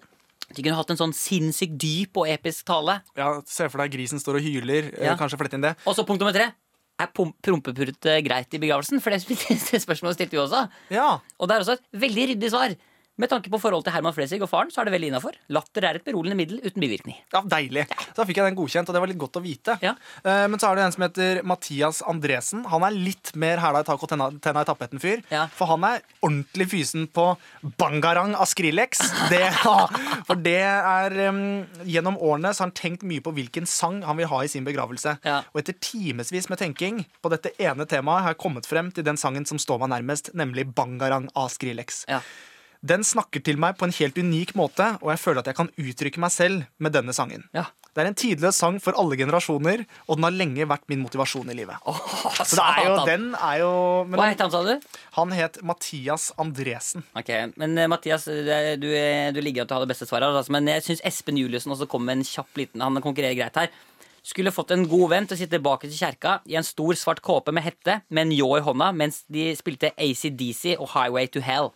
[SPEAKER 3] De kunne hatt en sånn sinnssykt dyp og episk tale.
[SPEAKER 2] Ja, Se for deg grisen står og hyler. eh,
[SPEAKER 3] Ja.
[SPEAKER 2] Kanskje flette inn det.
[SPEAKER 3] Og så punkt nummer tre. Er pom- prompepurte greit i begravelsen? For det det spørsmålet stilte vi også.
[SPEAKER 2] Ja,
[SPEAKER 3] Og det er også et veldig ryddig svar. Med tanke på forholdet til Herman Flesvig og faren, så er det veldig innafor. Latter er et beroligende middel uten bivirkning.
[SPEAKER 2] ja Deilig. Så da fikk jeg den godkjent, og det var litt godt å vite.
[SPEAKER 3] Ja.
[SPEAKER 2] Eh, Men så er det en som heter Mathias Andresen. Han er litt mer hæla i taket og tenna tenna i tapeten-fyr.
[SPEAKER 3] Ja.
[SPEAKER 2] For han er ordentlig fysen på bangarang av Skrillex. Det, for det er em, Gjennom årene så har han tenkt mye på hvilken sang han vil ha i sin begravelse.
[SPEAKER 3] Ja.
[SPEAKER 2] Og etter timevis med tenking på dette ene temaet har jeg kommet frem til den sangen som står meg nærmest, nemlig Bangarang av Skrillex.
[SPEAKER 3] Ja.
[SPEAKER 2] Den snakker til meg på en helt unik måte, og jeg føler at jeg kan uttrykke meg selv med denne sangen.
[SPEAKER 3] Ja.
[SPEAKER 2] Det er en tidløs sang for alle generasjoner, og den har lenge vært min motivasjon i livet. Så det er jo,
[SPEAKER 3] Satan.
[SPEAKER 2] den er jo men
[SPEAKER 3] Hva
[SPEAKER 2] han,
[SPEAKER 3] het han, sa du?
[SPEAKER 2] han het Mathias Andresen.
[SPEAKER 3] Ok, Men eh, Mathias, det- du, eh, du ligger an til å ha det beste svaret. her, Altså, men jeg syns Espen Juliussen også kom med en kjapp liten Han konkurrerer greit her. Skulle fått en god venn til å sitte bak i kjerka i en stor, svart kåpe med hette, med en ljå i hånda, mens de spilte ACDC og Highway to Hell.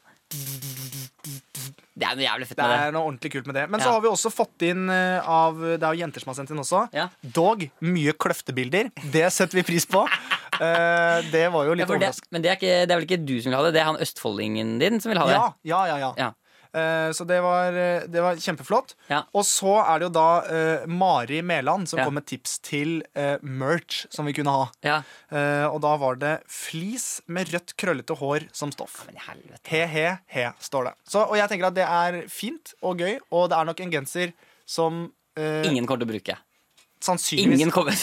[SPEAKER 3] Det er noe jævlig fett
[SPEAKER 2] Det
[SPEAKER 3] med det.
[SPEAKER 2] er noe ordentlig kult med det. Men
[SPEAKER 3] Ja.
[SPEAKER 2] så har vi også fått inn eh, av Det er jo jenter som har sendt inn også.
[SPEAKER 3] Ja.
[SPEAKER 2] Dog mye kløftebilder. Det setter vi pris på. Eh, det var jo
[SPEAKER 3] Ja,
[SPEAKER 2] litt
[SPEAKER 3] for det,
[SPEAKER 2] overraskende.
[SPEAKER 3] men det er, ikke, det er vel ikke du som vil ha det, det er han østfoldingen din som vil ha det?
[SPEAKER 2] Ja, ja, ja, ja.
[SPEAKER 3] Ja.
[SPEAKER 2] Eh, Så det var, eh, det var kjempeflott.
[SPEAKER 3] Ja.
[SPEAKER 2] Og så er det jo da eh, Mari Mæland som
[SPEAKER 3] Ja.
[SPEAKER 2] kom med tips til eh, merch som vi kunne ha.
[SPEAKER 3] Ja.
[SPEAKER 2] Eh, og da var det flis med rødt, krøllete hår som stoff.
[SPEAKER 3] Men i helvete.
[SPEAKER 2] He, he, he, står det. Så, og jeg tenker at det er fint og gøy, og det er nok en genser som eh,
[SPEAKER 3] Ingen kommer til å bruke.
[SPEAKER 2] sannsynligvis,
[SPEAKER 3] Ingen kommer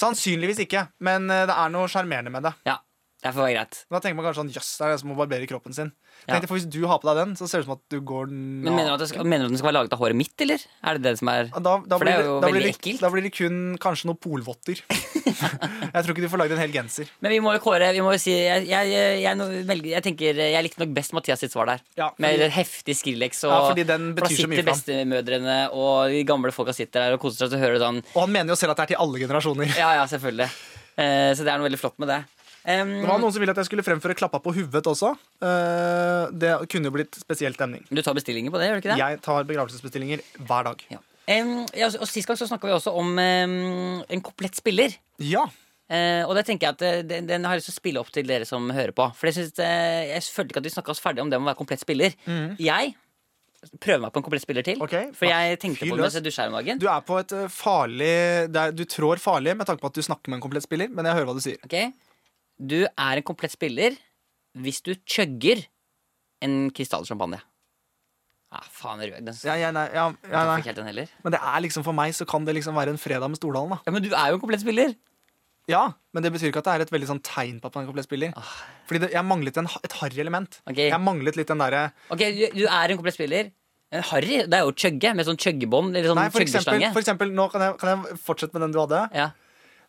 [SPEAKER 2] sannsynligvis ikke, men eh, det er noe sjarmerende med det.
[SPEAKER 3] Ja, det får være greit.
[SPEAKER 2] Da tenker man kanskje sånn, jøss, det er det som må barbere kroppen sin.
[SPEAKER 3] Ja.
[SPEAKER 2] Tenkte, for Hvis du har på deg den, så ser det ut som at du går naken.
[SPEAKER 3] Men mener du, at det skal, mener du at den skal være laget av håret mitt, eller? Er det det som er
[SPEAKER 2] Ja, Da, da,
[SPEAKER 3] For
[SPEAKER 2] blir
[SPEAKER 3] det er
[SPEAKER 2] det,
[SPEAKER 3] jo
[SPEAKER 2] da, blir
[SPEAKER 3] veldig
[SPEAKER 2] det,
[SPEAKER 3] ekkelt.
[SPEAKER 2] da blir det kun kanskje noen polvotter. jeg tror ikke du får lagd en hel genser.
[SPEAKER 3] Men vi må jo kåre Vi må jo si Jeg, jeg, jeg, jeg, nå velger, jeg tenker Jeg likte nok best Mathias sitt svar der.
[SPEAKER 2] Ja, fordi-
[SPEAKER 3] Med heftig Skrillex og
[SPEAKER 2] Ja, fordi den
[SPEAKER 3] for da
[SPEAKER 2] betyr så mye
[SPEAKER 3] sitter bestemødrene og de gamle folka sitter der og koser seg, og så hører du sånn
[SPEAKER 2] Og han mener jo selv at det er til alle generasjoner.
[SPEAKER 3] Ja, ja, selvfølgelig. Eh, så det er noe veldig flott med det. Em,
[SPEAKER 2] Det var noen som ville at jeg skulle fremføre klappa på huvudet også. Eh, Det kunne jo blitt spesiell stemning.
[SPEAKER 3] du tar bestillinger på det, gjør du ikke det?
[SPEAKER 2] Jeg tar begravelsesbestillinger hver dag.
[SPEAKER 3] Ja. Em, ja, og Sist gang så snakka vi også om em, en komplett spiller.
[SPEAKER 2] Ja.
[SPEAKER 3] Eh, og det tenker jeg at eh, den, den har jeg lyst til å spille opp til dere som hører på. For jeg, synes, eh, jeg følte ikke at vi snakka oss ferdig om det med å være komplett spiller. Jeg prøver meg på en komplett spiller til.
[SPEAKER 2] Mm. Ok.
[SPEAKER 3] For jeg tenkte
[SPEAKER 2] Fyr
[SPEAKER 3] på
[SPEAKER 2] løs.
[SPEAKER 3] det mens jeg dusja her om dagen.
[SPEAKER 2] Du er på et eh, farlig det er- Du trår farlig med tanke på at du snakker med en komplett spiller, men jeg hører hva du sier.
[SPEAKER 3] Ok? du er en komplett spiller hvis du chugger en krystallsjampanje. Ah, faen, rød. Den
[SPEAKER 2] Ja, ja, nei, ja, ja,
[SPEAKER 3] jeg fikk
[SPEAKER 2] nei.
[SPEAKER 3] helt den heller.
[SPEAKER 2] Men det er liksom for meg så kan det liksom være en fredag med Stordalen, da.
[SPEAKER 3] Ja, Men du er jo en komplett spiller.
[SPEAKER 2] Ja, Men det betyr ikke at det er et veldig sånn tegn på at man er en komplett spiller. Fordi det, jeg manglet en, et harry element.
[SPEAKER 3] Ah. Ok.
[SPEAKER 2] Jeg manglet litt den derre
[SPEAKER 3] Ok, Du, du er en komplett spiller. Men Harry, det er jo å chugge med sånn chuggebånd eller sånn
[SPEAKER 2] Nei, for eksempel,
[SPEAKER 3] chuggeslange.
[SPEAKER 2] for eksempel nå kan jeg, kan jeg fortsette med den du hadde.
[SPEAKER 3] Ja.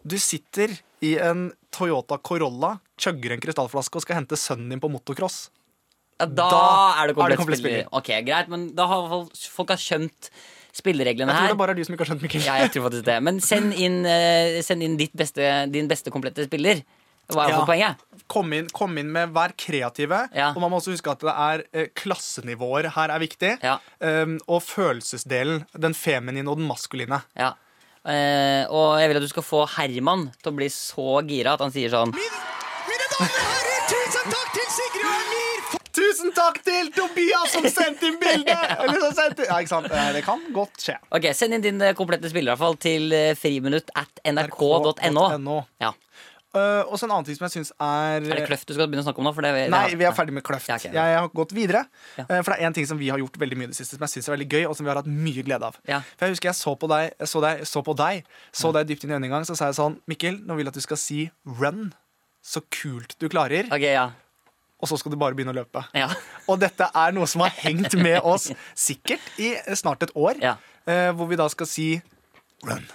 [SPEAKER 2] Du sitter i en Toyota Corolla, chugger en krystallflaske og skal hente sønnen din på motocross.
[SPEAKER 3] Ja,
[SPEAKER 2] Da
[SPEAKER 3] da, er det
[SPEAKER 2] er det
[SPEAKER 3] komplett,
[SPEAKER 2] komplett
[SPEAKER 3] spiller.
[SPEAKER 2] spiller.
[SPEAKER 3] Ok, Greit, men da har i hvert fall folk har skjønt spillereglene
[SPEAKER 2] Jeg tror
[SPEAKER 3] her.
[SPEAKER 2] det bare er du som ikke har skjønt, Mikkel.
[SPEAKER 3] Ja, jeg tror faktisk det. Men send inn, eh, send inn ditt beste, din beste komplette spiller. Hva er
[SPEAKER 2] Ja.
[SPEAKER 3] for poenget?
[SPEAKER 2] Kom, inn, kom inn med vær kreative.
[SPEAKER 3] Ja.
[SPEAKER 2] Og man må også huske at det er eh, klassenivåer her er viktig.
[SPEAKER 3] Ja.
[SPEAKER 2] Um, og følelsesdelen. Den feminine og den maskuline.
[SPEAKER 3] Ja. Eh, og jeg vil at du skal få Herman til å bli så gira at han sier sånn
[SPEAKER 1] Mine, mine damer og herrer, tusen takk til Sigrid og Emir!
[SPEAKER 2] Tusen takk til Tobias som sendte inn bildet! Eller som sendte Ja, ikke sant? Eh, Det kan godt skje.
[SPEAKER 3] Ok, Send inn din eh, komplette spiller i hvert fall til eh, friminutt at nrk.no.
[SPEAKER 2] NRK.no.
[SPEAKER 3] Ja.
[SPEAKER 2] Eh, og så en annen ting som jeg syns er
[SPEAKER 3] Er det Kløft du skal begynne å snakke om nå? For det,
[SPEAKER 2] Nei, vi er ferdig med kløft.
[SPEAKER 3] Ja, ok.
[SPEAKER 2] Jeg har gått videre.
[SPEAKER 3] Ja.
[SPEAKER 2] Eh, For det er en ting som vi har gjort veldig mye i det siste, som jeg synes er veldig gøy, og som vi har hatt mye glede av.
[SPEAKER 3] Ja.
[SPEAKER 2] For jeg husker jeg så på deg, jeg så deg, så på deg, så deg dypt inn i øynene en gang, så sa jeg sånn Mikkel, nå vil jeg at du skal si run så kult du klarer,
[SPEAKER 3] Ok, ja.
[SPEAKER 2] og så skal du bare begynne å løpe.
[SPEAKER 3] ja.
[SPEAKER 2] Og dette er noe som har hengt med oss sikkert i snart et år,
[SPEAKER 3] Ja.
[SPEAKER 2] eh, hvor vi da skal si run.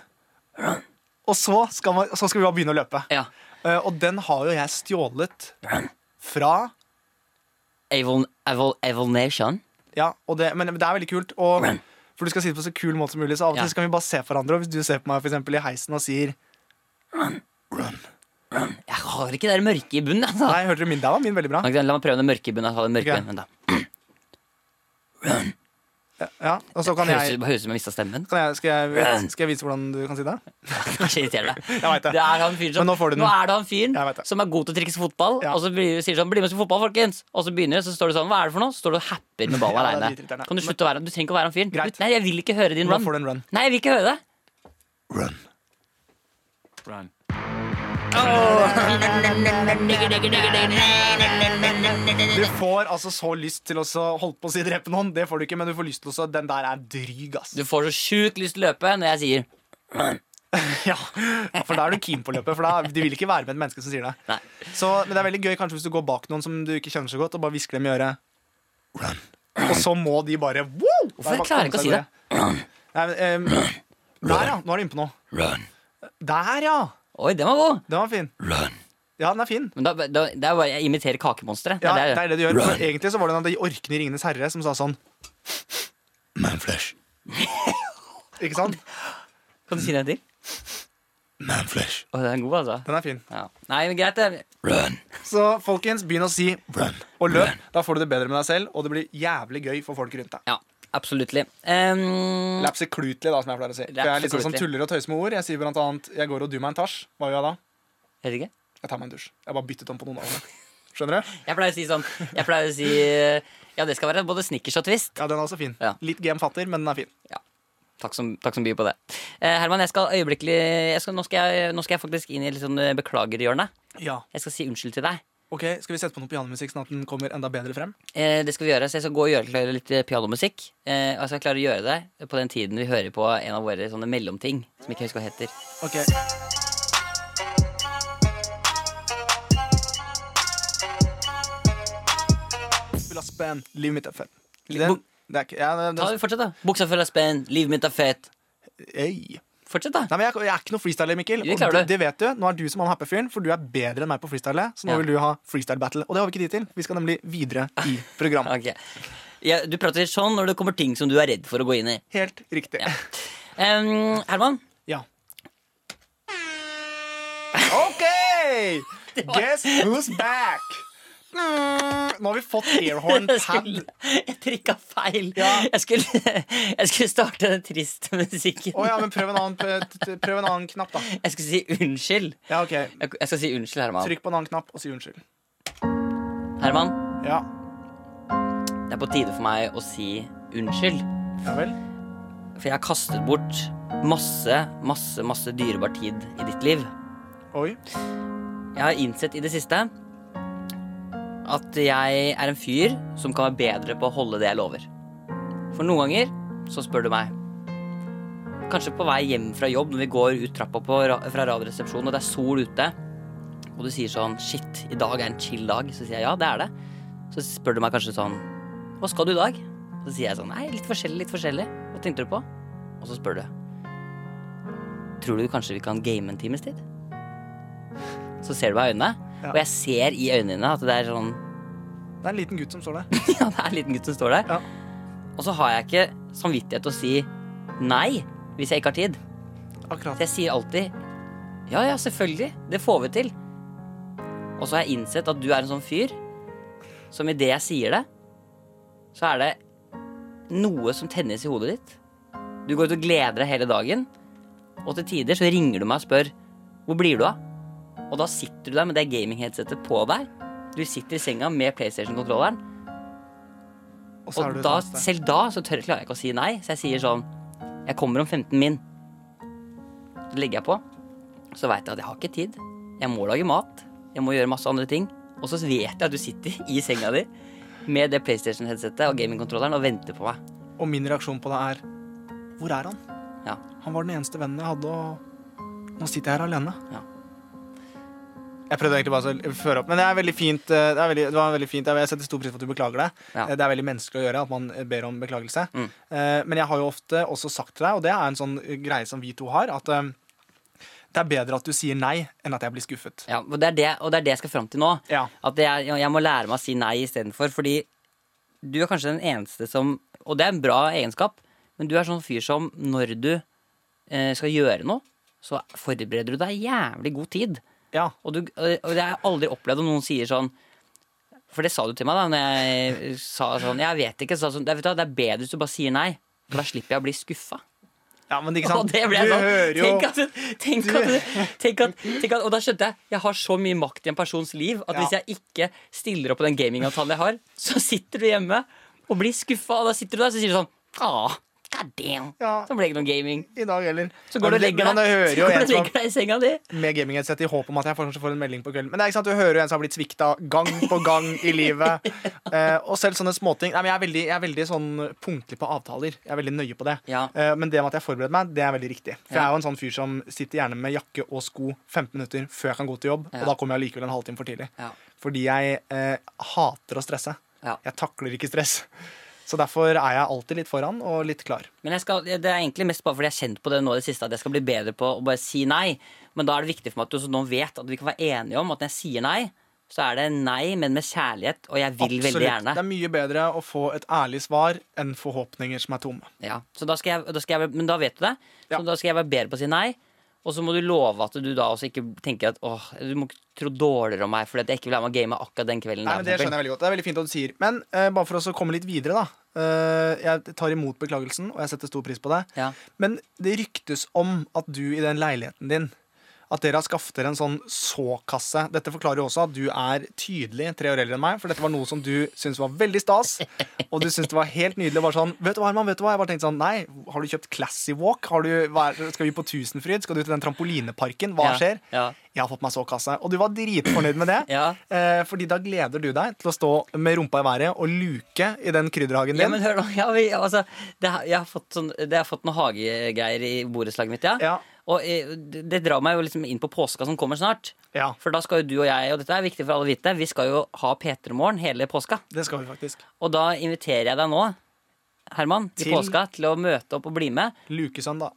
[SPEAKER 2] Og så skal, man, så skal vi bare begynne å løpe.
[SPEAKER 3] ja.
[SPEAKER 2] Eh, og den har jo jeg stjålet fra
[SPEAKER 3] Avon, Avon, Avon Nation.
[SPEAKER 2] Ja, og det, men det er veldig kult. Og, for du skal si det på så kul måte som mulig, så av og
[SPEAKER 3] Ja.
[SPEAKER 2] til så kan vi bare se på hverandre. Og hvis du ser på meg for eksempel, i heisen og sier
[SPEAKER 3] Jeg har ikke det der mørke i bunnen. Altså.
[SPEAKER 2] Nei, hørte du min? Der var min veldig bra.
[SPEAKER 3] Ok, La meg prøve det mørke i bunnen. Jeg har det mørke i
[SPEAKER 2] Ok.
[SPEAKER 3] bunnen da.
[SPEAKER 2] Ja, og så kan
[SPEAKER 3] Høres
[SPEAKER 2] jeg,
[SPEAKER 3] ut høres ut som jeg mista stemmen.
[SPEAKER 2] kan jeg, skal, jeg skal jeg vise hvordan du kan si det?
[SPEAKER 3] Kanskje irriterer deg.
[SPEAKER 2] Jeg vet det.
[SPEAKER 3] er han fyren som,
[SPEAKER 2] Men nå får du den.
[SPEAKER 3] er det han fyren
[SPEAKER 2] Jeg vet det.
[SPEAKER 3] som er god til å trikse fotball,
[SPEAKER 2] Ja.
[SPEAKER 3] og så blir, sier sånn 'Bli med oss i fotball, folkens!' Og så begynner det, så står det sånn 'Hva er det for noe?' Så står du og happer med
[SPEAKER 2] Ja,
[SPEAKER 3] ballen
[SPEAKER 2] det er
[SPEAKER 3] alene
[SPEAKER 2] dritirriterende.
[SPEAKER 3] Kan du slutte å være Du trenger ikke å være han fyren.
[SPEAKER 2] Greit.
[SPEAKER 3] Du- Nei, jeg vil ikke høre din
[SPEAKER 2] Nå
[SPEAKER 3] run.
[SPEAKER 2] får du en run.
[SPEAKER 3] Nei, jeg vil ikke høre det.
[SPEAKER 2] Run.
[SPEAKER 3] Run.
[SPEAKER 2] Du får altså så lyst til å så- holdt på å si drepe noen. Det får du ikke, men du får lyst til å så Den der er dryg, ass.
[SPEAKER 3] Du får så sjukt lyst til å løpe når jeg sier
[SPEAKER 2] Ja, ja, for da er du keen på å løpe. For da, de vil ikke være med et menneske som sier det.
[SPEAKER 3] Nei.
[SPEAKER 2] Så, men det er veldig gøy kanskje hvis du går bak noen som du ikke kjenner så godt, og bare hvisker dem i øret. Og så må de bare wow!
[SPEAKER 3] Hvorfor
[SPEAKER 2] Det er bare
[SPEAKER 3] klarer jeg ikke å si det?
[SPEAKER 2] Nei, men, em, der, ja. Nå er du inne på noe.
[SPEAKER 3] Run.
[SPEAKER 2] Der, ja!
[SPEAKER 3] Oi, den var god.
[SPEAKER 2] Den var fin.
[SPEAKER 3] Run.
[SPEAKER 2] Ja, den er fin.
[SPEAKER 3] Men da, da, det er bare jeg imiterer kakemonstre. Det
[SPEAKER 2] Ja,
[SPEAKER 3] er det jeg
[SPEAKER 2] det
[SPEAKER 3] gjør.
[SPEAKER 2] er det du gjør. Men egentlig så var det en av de orkene i Ringenes herre som sa sånn
[SPEAKER 7] Manflesh.
[SPEAKER 2] Ikke sant?
[SPEAKER 3] Kan du si det en til?
[SPEAKER 7] Manflesh.
[SPEAKER 3] Å, den er god, altså.
[SPEAKER 2] Den er fin.
[SPEAKER 3] Ja. Nei, men greit, det.
[SPEAKER 7] Run.
[SPEAKER 2] Så folkens, begynn å si
[SPEAKER 7] Run.
[SPEAKER 2] og løp. Da får du det bedre med deg selv, og det blir jævlig gøy for folk rundt deg.
[SPEAKER 3] Ja, absolutt. Um,
[SPEAKER 2] Lapseklutelig, da, som jeg pleier å si. For jeg er litt sånn som
[SPEAKER 3] Lapseklutelig.
[SPEAKER 2] tuller og tøyser med ord. Jeg sier blant annet 'jeg går og du meg en tasj'. Hva gjør jeg da?
[SPEAKER 3] vet ikke.
[SPEAKER 2] Jeg tar meg en dusj. Jeg bare byttet om på noen av dem. Skjønner du?
[SPEAKER 3] Jeg pleier å si sånn Jeg pleier å si eh, Ja, det skal være både snickers og twist.
[SPEAKER 2] Ja, den er også fin.
[SPEAKER 3] Ja.
[SPEAKER 2] Litt GM-fatter, men den er fin.
[SPEAKER 3] Takk som, takk som byr på det. Eh, Herman, jeg skal øyeblikkelig jeg skal, nå, skal jeg, nå skal jeg faktisk inn i litt sånn eh, beklagerhjørnet.
[SPEAKER 2] Ja.
[SPEAKER 3] Jeg skal si unnskyld til deg.
[SPEAKER 2] Ok, Skal vi sette på noe pianomusikk sånn at den kommer enda bedre frem?
[SPEAKER 3] Eh, det skal vi gjøre, så jeg skal gå og gjøre klar litt eh, pianomusikk. Eh, og jeg skal klare å gjøre det på den tiden vi hører på en av våre sånne mellomting. Som jeg ikke husker hva heter.
[SPEAKER 2] Ok. Spill av spenn. Livet mitt er fett. Den, det er ikke ja, det,
[SPEAKER 3] Ta,
[SPEAKER 2] det,
[SPEAKER 3] fortsett, da. Buksa full av spenn, livet mitt er fett.
[SPEAKER 2] Ei.
[SPEAKER 3] Fortsett, da.
[SPEAKER 2] Nei, men jeg, jeg er ikke noe freestyler, Mikkel.
[SPEAKER 3] Det
[SPEAKER 2] Og
[SPEAKER 3] klarer
[SPEAKER 2] det,
[SPEAKER 3] du.
[SPEAKER 2] det vet du. Nå er du som han happy-fyren, for du er bedre enn meg på freestyle. Så nå
[SPEAKER 3] Ja.
[SPEAKER 2] vil du ha freestyle battle. Og det har vi ikke tid til. Vi skal nemlig videre i programmet.
[SPEAKER 3] Ok. Ja, du prater sånn når det kommer ting som du er redd for å gå inn i.
[SPEAKER 2] Helt riktig.
[SPEAKER 3] Ja. Em, Herman,
[SPEAKER 2] Ja. OK! Guess who's back? Mm, Nå har vi fått airhorn
[SPEAKER 3] jeg,
[SPEAKER 2] pad.
[SPEAKER 3] skulle, jeg trykka feil.
[SPEAKER 2] Ja.
[SPEAKER 3] Jeg, skulle, jeg skulle starte den triste musikken.
[SPEAKER 2] Å ja, men prøv en annen, p- prøv en annen knapp, da.
[SPEAKER 3] Jeg skulle si unnskyld.
[SPEAKER 2] Ja, ok.
[SPEAKER 3] Jeg, jeg skal si unnskyld, Herman.
[SPEAKER 2] Trykk på en annen knapp og si unnskyld.
[SPEAKER 3] Herman,
[SPEAKER 2] Ja,
[SPEAKER 3] det er på tide for meg å si unnskyld.
[SPEAKER 2] ja vel.
[SPEAKER 3] For jeg har kastet bort masse, masse, masse dyrebar tid i ditt liv.
[SPEAKER 2] Oi.
[SPEAKER 3] Jeg har innsett i det siste at jeg er en fyr som kan være bedre på å holde det jeg lover. For noen ganger så spør du meg. Kanskje på vei hjem fra jobb når vi går ut trappa på, ra- fra radioresepsjonen og det er sol ute, og du sier sånn Shit, i dag er en chill dag. Så sier jeg ja, det er det. Så spør du meg kanskje sånn Hva skal du i dag? Så sier jeg sånn Nei, litt forskjellig, litt forskjellig. Hva tenkte du på? Og så spør du. Tror du kanskje vi kan game en times tid? Så ser du meg i øynene,
[SPEAKER 2] Ja.
[SPEAKER 3] og jeg ser i øynene dine at det er sånn
[SPEAKER 2] Det er en liten gutt som står der.
[SPEAKER 3] ja, det er en liten gutt som står der.
[SPEAKER 2] Ja.
[SPEAKER 3] Og så har jeg ikke samvittighet til å si nei hvis jeg ikke har tid.
[SPEAKER 2] Akkurat.
[SPEAKER 3] Så jeg sier alltid ja, ja, selvfølgelig. Det får vi til. Og så har jeg innsett at du er en sånn fyr som idet jeg sier det, så er det noe som tennes i hodet ditt. Du går ut og gleder deg hele dagen, og til tider så ringer du meg og spør hvor blir du av? Og da sitter du der med det gaming-headsetet på deg. Du sitter i senga med PlayStation-kontrolleren,
[SPEAKER 2] Og så er
[SPEAKER 3] og
[SPEAKER 2] du
[SPEAKER 3] da,
[SPEAKER 2] sånn sted.
[SPEAKER 3] selv da så tør, klarer jeg ikke å si nei, så jeg sier sånn Jeg kommer om 15 min. Så legger jeg på. Så veit jeg at jeg har ikke tid. Jeg må lage mat. Jeg må gjøre masse andre ting. Og så vet jeg at du sitter i senga di med det PlayStation-headsetet og gamingkontrolleren og venter på meg.
[SPEAKER 2] Og min reaksjon på det er Hvor er han?
[SPEAKER 3] Ja.
[SPEAKER 2] Han var den eneste vennen jeg hadde, og nå sitter jeg her alene.
[SPEAKER 3] Ja.
[SPEAKER 2] Jeg prøvde egentlig bare å føre opp, men det er veldig fint. eh, Det, er veldig, det var veldig fint. Jeg setter stor pris på at du beklager det.
[SPEAKER 3] Ja.
[SPEAKER 2] Eh, Det er veldig menneskelig å gjøre at man eh, ber om beklagelse.
[SPEAKER 3] Mm.
[SPEAKER 2] Eh, Men jeg har jo ofte også sagt til deg, og det er en sånn eh, greie som vi to har, at eh, det er bedre at du sier nei enn at jeg blir skuffet.
[SPEAKER 3] Ja, og, det er det, og det er det jeg skal fram til nå.
[SPEAKER 2] Ja.
[SPEAKER 3] At jeg, jeg må lære meg å si nei istedenfor. Fordi du er kanskje den eneste som Og det er en bra egenskap, men du er sånn fyr som når du eh, skal gjøre noe, så forbereder du deg jævlig god tid.
[SPEAKER 2] Ja.
[SPEAKER 3] Og, du, og og jeg har aldri opplevd at noen sier sånn For det sa du til meg da Når jeg sa sånn Jeg vet ikke så sa du sånn, «Nei, vet du, hva, Det er bedre hvis du bare sier nei For da slipper jeg å bli skuffet
[SPEAKER 2] Ja, men ikke
[SPEAKER 3] Og
[SPEAKER 2] sant?
[SPEAKER 3] det ble jeg
[SPEAKER 2] du
[SPEAKER 3] sånn
[SPEAKER 2] hører jo
[SPEAKER 3] tenk at, tenk, at, tenk, at, tenk at Og da skjønte jeg Jeg har så mye makt i en persons liv At
[SPEAKER 2] Ja.
[SPEAKER 3] hvis jeg ikke stiller opp på den gamingavtalen jeg har Så sitter du hjemme Og blir skuffet Og da sitter du der Så sier du sånn Åh, god damn
[SPEAKER 2] Ja.
[SPEAKER 3] Så ble det ikke noen gaming
[SPEAKER 2] i dag heller.
[SPEAKER 3] Så går du
[SPEAKER 2] Men-
[SPEAKER 3] og legger
[SPEAKER 2] men
[SPEAKER 3] deg
[SPEAKER 2] jeg hører
[SPEAKER 3] Så
[SPEAKER 2] jo
[SPEAKER 3] går du
[SPEAKER 2] en
[SPEAKER 3] og
[SPEAKER 2] som har-
[SPEAKER 3] legger deg i senga di
[SPEAKER 2] med gamingheadset i håp om at jeg kanskje får en melding på kvelden. Men det er ikke sant, du hører jo en som har blitt svikta gang på gang i livet. Eh, og selv sånne småting. Nei, men jeg er veldig, jeg er veldig sånn punktlig på avtaler. Jeg er veldig nøye på det.
[SPEAKER 3] Ja.
[SPEAKER 2] Eh, men det med at jeg forbereder meg, det er veldig riktig. For jeg
[SPEAKER 3] Ja.
[SPEAKER 2] er jo en sånn fyr som sitter gjerne med jakke og sko 15 minutter før jeg kan gå til jobb,
[SPEAKER 3] Ja.
[SPEAKER 2] og da kommer jeg likevel en halvtime for tidlig.
[SPEAKER 3] Ja.
[SPEAKER 2] Fordi jeg eh, hater å stresse.
[SPEAKER 3] Ja.
[SPEAKER 2] Jeg takler ikke stress. Så derfor er jeg alltid litt foran og litt klar.
[SPEAKER 3] Men jeg skal, det er egentlig mest bare fordi jeg har kjent på det nå i det siste at jeg skal bli bedre på å bare si nei. Men da er det viktig for meg at du også nå vet at vi kan være enige om at når jeg sier nei, så er det nei, men med kjærlighet, og jeg vil veldig gjerne.
[SPEAKER 2] Det er mye bedre å få et ærlig svar enn forhåpninger som er tomme.
[SPEAKER 3] Ja, så da skal jeg, da skal jeg, men da vet du det. Så
[SPEAKER 2] Ja.
[SPEAKER 3] da skal jeg være bedre på å si nei. Og så må du love at du da også ikke tenker at åh, du må ikke tro dårligere om meg fordi at jeg ikke vil ha med å game akkurat den kvelden.
[SPEAKER 2] Nei, men Det skjønner jeg veldig godt. Det er veldig fint at du sier. Men eh, bare for oss å komme litt videre, da. Eh, jeg tar imot beklagelsen, og jeg setter stor pris på det.
[SPEAKER 3] Ja.
[SPEAKER 2] Men det ryktes om at du i den leiligheten din at dere har skaffet dere en sånn såkasse. Dette forklarer jo også at du er tydelig tre år eldre enn meg, for dette var noe som du syntes var veldig stas. Og du syntes det var helt nydelig. og Bare sånn, vet du hva, Herman, vet du hva? Jeg bare tenkte sånn, nei, har du kjøpt Classy Walk? Har du, hva er, skal vi på Tusenfryd? Skal du til den trampolineparken? Hva
[SPEAKER 3] Ja,
[SPEAKER 2] skjer?
[SPEAKER 3] ja.
[SPEAKER 2] Jeg har fått meg såkasse. Og du var dritfornøyd med det.
[SPEAKER 3] Ja.
[SPEAKER 2] Eh, fordi da gleder du deg til å stå med rumpa i været og luke i den krydderhagen din.
[SPEAKER 3] Ja, men hør nå. Ja, vi, altså, det, har- jeg, har fått sånn, det har fått noen hagegreier i borettslaget mitt, ja.
[SPEAKER 2] Ja.
[SPEAKER 3] Og eh, det det drar meg jo liksom inn på påska som kommer snart.
[SPEAKER 2] Ja.
[SPEAKER 3] For da skal jo du og jeg, og dette er viktig for alle å vite, vi skal jo ha P3morgen hele påska.
[SPEAKER 2] Det skal vi faktisk.
[SPEAKER 3] Og da inviterer jeg deg nå, Herman, til,
[SPEAKER 2] Til-
[SPEAKER 3] påska til å møte opp og bli med.
[SPEAKER 2] Lukesøndag.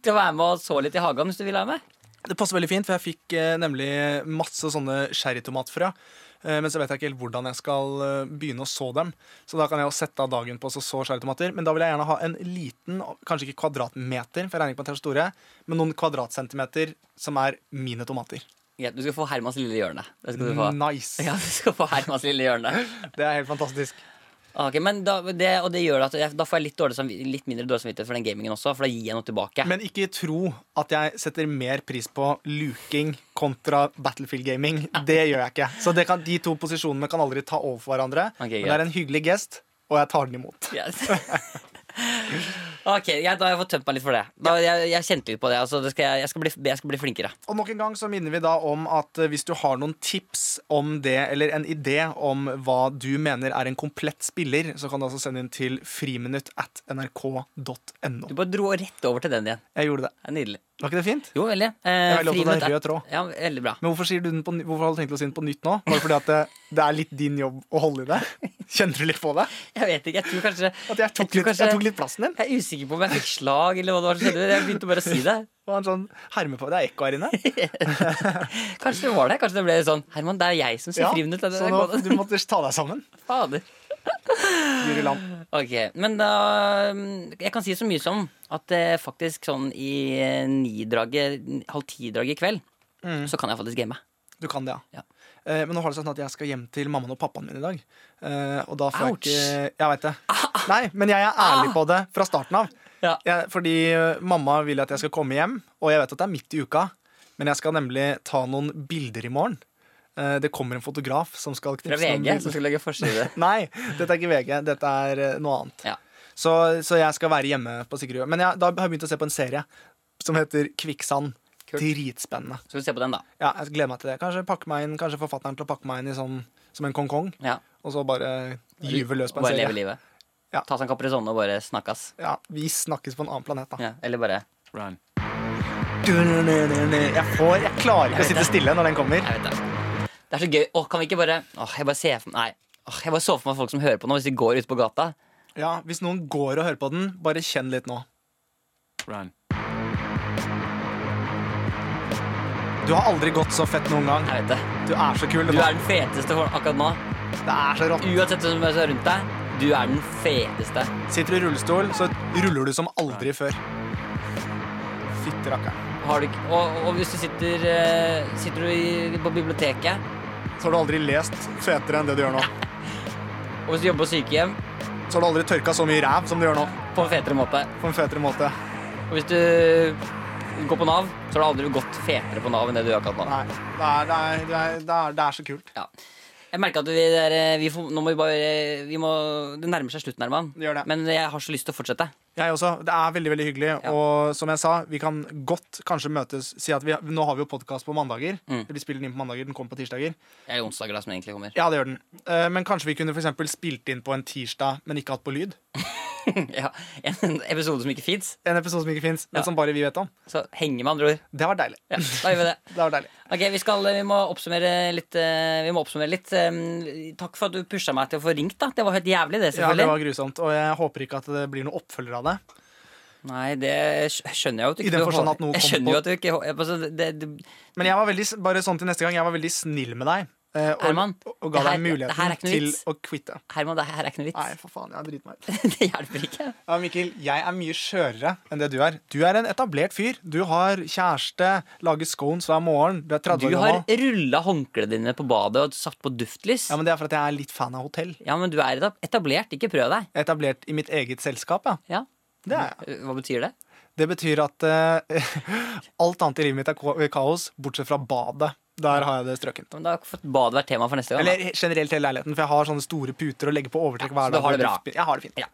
[SPEAKER 3] Til å være med og så litt i hagen hvis du vil være med.
[SPEAKER 2] Det passer veldig fint, for jeg fikk eh, nemlig masse sånne sherrytomatfrø. Eh, men så vet jeg ikke helt hvordan jeg skal eh, begynne å så dem. Så da kan jeg jo sette av dagen på å så sherrytomater. Men da vil jeg gjerne ha en liten, kanskje ikke kvadratmeter, for jeg regner ikke med at de er så store, men noen kvadratcentimeter som er mine tomater.
[SPEAKER 3] Greit, du skal få Hermans lille hjørne. Det skal du få.
[SPEAKER 2] Nice.
[SPEAKER 3] Ja, du skal få Hermans lille hjørne. Ah,
[SPEAKER 2] Det er helt fantastisk.
[SPEAKER 3] Ok, men da, det, og det gjør at jeg, da får jeg litt, dårlig samvi- litt mindre dårlig samvittighet for den gamingen også, for da gir jeg noe tilbake.
[SPEAKER 2] Men ikke tro at jeg setter mer pris på luking kontra Battlefield-gaming. Det gjør jeg ikke. Så det kan, de to posisjonene kan aldri ta over for hverandre.
[SPEAKER 3] Ok,
[SPEAKER 2] men det
[SPEAKER 3] greit.
[SPEAKER 2] er en hyggelig gest, og jeg tar den imot.
[SPEAKER 3] Yes. ok, ja, da har jeg fått tømt meg litt for det. Da, jeg, jeg kjente litt på det. Altså, det skal, jeg- jeg, skal bli, jeg skal bli flinkere.
[SPEAKER 2] Og nok en gang så minner vi da om at eh, hvis du har noen tips om det, eller en idé om hva du mener er en komplett spiller, så kan du altså sende inn til friminutt at nrk.no.
[SPEAKER 3] Du bare dro rett over til den igjen.
[SPEAKER 2] Jeg gjorde det.
[SPEAKER 3] Det er nydelig.
[SPEAKER 2] Var ikke det fint?
[SPEAKER 3] Jo, veldig.
[SPEAKER 2] Jeg
[SPEAKER 3] Eh,
[SPEAKER 2] er veldig opptatt av
[SPEAKER 3] friminutt er-
[SPEAKER 2] rød tråd.
[SPEAKER 3] Ja, veldig bra.
[SPEAKER 2] Men hvorfor, sier du den på, ny- hvorfor har du tenkt å si den på nytt nå? Bare fordi at det, det er litt din jobb å holde i det? Kjenner du litt på det?
[SPEAKER 3] Jeg vet ikke, jeg tror kanskje
[SPEAKER 2] At jeg tok,
[SPEAKER 3] tror
[SPEAKER 2] litt,
[SPEAKER 3] kanskje-
[SPEAKER 2] jeg tok litt plassen din?
[SPEAKER 3] Jeg er usikker på om jeg fikk slag eller hva det var som skjedde. Jeg begynte bare å si det.
[SPEAKER 2] Og en sånn herme på, Det er ekko her inne.
[SPEAKER 3] Kanskje det var det. Kanskje det ble sånn Herman, det er jeg som sier
[SPEAKER 2] Ja,
[SPEAKER 3] friminutt. Det, det,
[SPEAKER 2] så nå,
[SPEAKER 3] går-
[SPEAKER 2] du måtte ta deg sammen.
[SPEAKER 3] Fader.
[SPEAKER 2] Guri Land.
[SPEAKER 3] Ok, men da mm, Jeg kan si så mye som at eh, faktisk sånn i eh, ni-draget, halv ti-draget i kveld,
[SPEAKER 2] Mm.
[SPEAKER 3] så kan jeg faktisk game.
[SPEAKER 2] Du kan det, ja.
[SPEAKER 3] Ja.
[SPEAKER 2] Eh, men nå har det seg sånn at jeg skal hjem til mammaen og pappaen min i dag. Eh, og da får
[SPEAKER 3] Ouch.
[SPEAKER 2] jeg ikke Jeg veit det. Nei, men jeg er ærlig på det fra starten av.
[SPEAKER 3] Ja.
[SPEAKER 2] Jeg, fordi eh, mamma vil at jeg skal komme hjem, og jeg vet at det er midt i uka. Men jeg skal nemlig ta noen bilder i morgen. Eh, det kommer en fotograf som skal
[SPEAKER 3] Fra
[SPEAKER 2] knipse noen
[SPEAKER 3] VG, som
[SPEAKER 2] bilder.
[SPEAKER 3] skal legge forside.
[SPEAKER 2] Nei, dette er ikke VG. Dette er eh, noe annet.
[SPEAKER 3] Ja.
[SPEAKER 2] Så, så jeg skal være hjemme på Sigrud. Men jeg, da har jeg begynt å se på en serie som heter Kvikksand.
[SPEAKER 3] Kult.
[SPEAKER 2] Dritspennende.
[SPEAKER 3] Skal vi se på den, da.
[SPEAKER 2] Ja, jeg gleder meg til det. Kanskje, pakke meg inn, kanskje forfatteren til å pakke meg inn i sånn, som en kong-kong,
[SPEAKER 3] Ja.
[SPEAKER 2] og så bare gyve løs på en
[SPEAKER 3] Bare leve
[SPEAKER 2] serie.
[SPEAKER 3] livet.
[SPEAKER 2] Ja.
[SPEAKER 3] Ta seg en Caprizone og bare snakkes.
[SPEAKER 2] Ja, vi snakkes på en annen planet, da.
[SPEAKER 3] Ja, eller bare Run.
[SPEAKER 2] Jeg, får, jeg klarer ikke å sitte stille når den kommer.
[SPEAKER 3] Jeg vet det. Det er så gøy. Åh, kan vi ikke bare Åh, jeg bare ser for Nei. Åh, jeg bare så for meg folk som hører på nå, hvis de går ute på gata.
[SPEAKER 2] Ja, Hvis noen går og hører på den, bare kjenn litt nå. Du har aldri gått så fett noen gang.
[SPEAKER 3] Jeg vet det.
[SPEAKER 2] Du er så kul.
[SPEAKER 3] Du
[SPEAKER 2] Du
[SPEAKER 3] er den feteste for akkurat nå.
[SPEAKER 2] Det er så rått.
[SPEAKER 3] Uansett hvem som er rundt deg. Du er den feteste.
[SPEAKER 2] Sitter du i rullestol, så ruller du som aldri før. Fytti rakkeren.
[SPEAKER 3] Har du, ikke- og, og hvis du sitter, eh, sitter du i, på biblioteket,
[SPEAKER 2] så har du aldri lest fetere enn det du gjør nå.
[SPEAKER 3] Og hvis du jobber på sykehjem,
[SPEAKER 2] Så har du aldri tørka så mye ræv som du gjør nå.
[SPEAKER 3] på en fetere måte.
[SPEAKER 2] På en fetere måte.
[SPEAKER 3] Og hvis du går på Nav, så har du aldri gått fetere på Nav enn det du gjør akkurat nå.
[SPEAKER 2] Nei, det er, det er, det er, det er, det er så kult.
[SPEAKER 3] Ja. Jeg merker at vi, det er, vi får, nå må vi bare vi må, Det nærmer seg slutten, Herman.
[SPEAKER 2] Det gjør det.
[SPEAKER 3] Men jeg har så lyst til å fortsette.
[SPEAKER 2] Jeg også. Det er veldig veldig hyggelig.
[SPEAKER 3] Ja.
[SPEAKER 2] Og som jeg sa, vi kan godt kanskje møtes si at vi, Nå har vi jo podkast på mandager.
[SPEAKER 3] Mm.
[SPEAKER 2] Eller vi spiller den inn på mandager, den kommer på tirsdager.
[SPEAKER 3] Eller onsdager, da, som egentlig kommer.
[SPEAKER 2] Ja, det gjør den. Eh, Men kanskje vi kunne for eksempel spilt inn på en tirsdag, men ikke hatt på lyd?
[SPEAKER 3] Ja. En episode som ikke fins.
[SPEAKER 2] En episode som ikke fins, men
[SPEAKER 3] Ja.
[SPEAKER 2] som bare vi vet om.
[SPEAKER 3] Så henger med andre ord.
[SPEAKER 2] Det var deilig.
[SPEAKER 3] Ja, da gjør vi det.
[SPEAKER 2] Det var deilig.
[SPEAKER 3] Ok, vi, skal, eh, vi må oppsummere litt. eh, Vi må oppsummere litt. Eh, Takk for at du pusha meg til å få ringt. da Det var helt jævlig, det,
[SPEAKER 2] Ja, det
[SPEAKER 3] selvfølgelig.
[SPEAKER 2] var grusomt, og jeg håper ikke at det blir noen oppfølger av det.
[SPEAKER 3] Nei, det skj- skjønner jeg jo at du
[SPEAKER 2] I
[SPEAKER 3] ikke
[SPEAKER 2] den
[SPEAKER 3] du
[SPEAKER 2] forstand
[SPEAKER 3] hå-
[SPEAKER 2] at noe
[SPEAKER 3] Jeg
[SPEAKER 2] kom
[SPEAKER 3] skjønner
[SPEAKER 2] på-
[SPEAKER 3] jo at du ikke hå- jeg- altså, det, det,
[SPEAKER 2] Men jeg var veldig, bare sånn til neste gang, jeg var veldig snill med deg. eh, Og,
[SPEAKER 3] Herman,
[SPEAKER 2] og, og ga deg
[SPEAKER 3] det her- det her er
[SPEAKER 2] muligheten
[SPEAKER 3] ikke noe
[SPEAKER 2] til
[SPEAKER 3] vits.
[SPEAKER 2] å quitte.
[SPEAKER 3] Herman, det her er ikke noe
[SPEAKER 2] Nei,
[SPEAKER 3] vits.
[SPEAKER 2] for faen, jeg driter meg ut.
[SPEAKER 3] det hjelper ikke.
[SPEAKER 2] Ja, Mikkel, jeg er mye skjørere enn det du er. Du er en etablert fyr. Du har kjæreste, lager scones hver morgen. Du er 30
[SPEAKER 3] Du
[SPEAKER 2] år
[SPEAKER 3] har
[SPEAKER 2] gammel.
[SPEAKER 3] rulla håndklærne dine på badet og satt på duftlys.
[SPEAKER 2] Ja, men Det er for at jeg er litt fan av hotell.
[SPEAKER 3] Ja, men du er etab- etablert, ikke prøv deg.
[SPEAKER 2] Etablert i mitt eget selskap, ja.
[SPEAKER 3] Ja.
[SPEAKER 2] Det er jeg.
[SPEAKER 3] Hva betyr det?
[SPEAKER 2] Det betyr at eh, alt annet i livet mitt er ko- kaos, bortsett fra badet. Der har jeg det strøkent.
[SPEAKER 3] Ja, Men da har badet vært tema for neste gang. da.
[SPEAKER 2] Eller generelt hele leiligheten, for jeg har sånne store puter å legge på overtrekk hver
[SPEAKER 3] så du
[SPEAKER 2] dag.
[SPEAKER 3] har det bra.
[SPEAKER 2] og duftpin- Jeg har det fint.
[SPEAKER 3] Ja.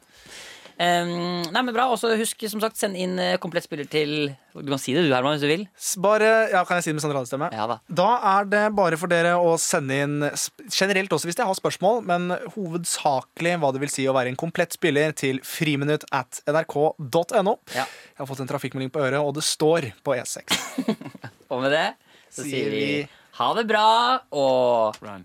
[SPEAKER 3] Um, nei, men bra. Også husk, som sagt, send inn eh, komplett spiller til Du kan si det du, Herman, hvis du vil.
[SPEAKER 2] S- Bare, ja, Kan jeg si det med sånn radiostemme?
[SPEAKER 3] Ja da.
[SPEAKER 2] er det bare for dere å sende inn sp- generelt også hvis dere har spørsmål, men hovedsakelig hva det vil si å være en komplett spiller til friminutt at nrk.no.
[SPEAKER 3] Ja.
[SPEAKER 2] Jeg har fått en trafikkmelding på øret, og det står på E E6.
[SPEAKER 3] Og med det så
[SPEAKER 2] Sier
[SPEAKER 3] sier vi
[SPEAKER 2] vi-
[SPEAKER 3] ha det bra og
[SPEAKER 7] Run.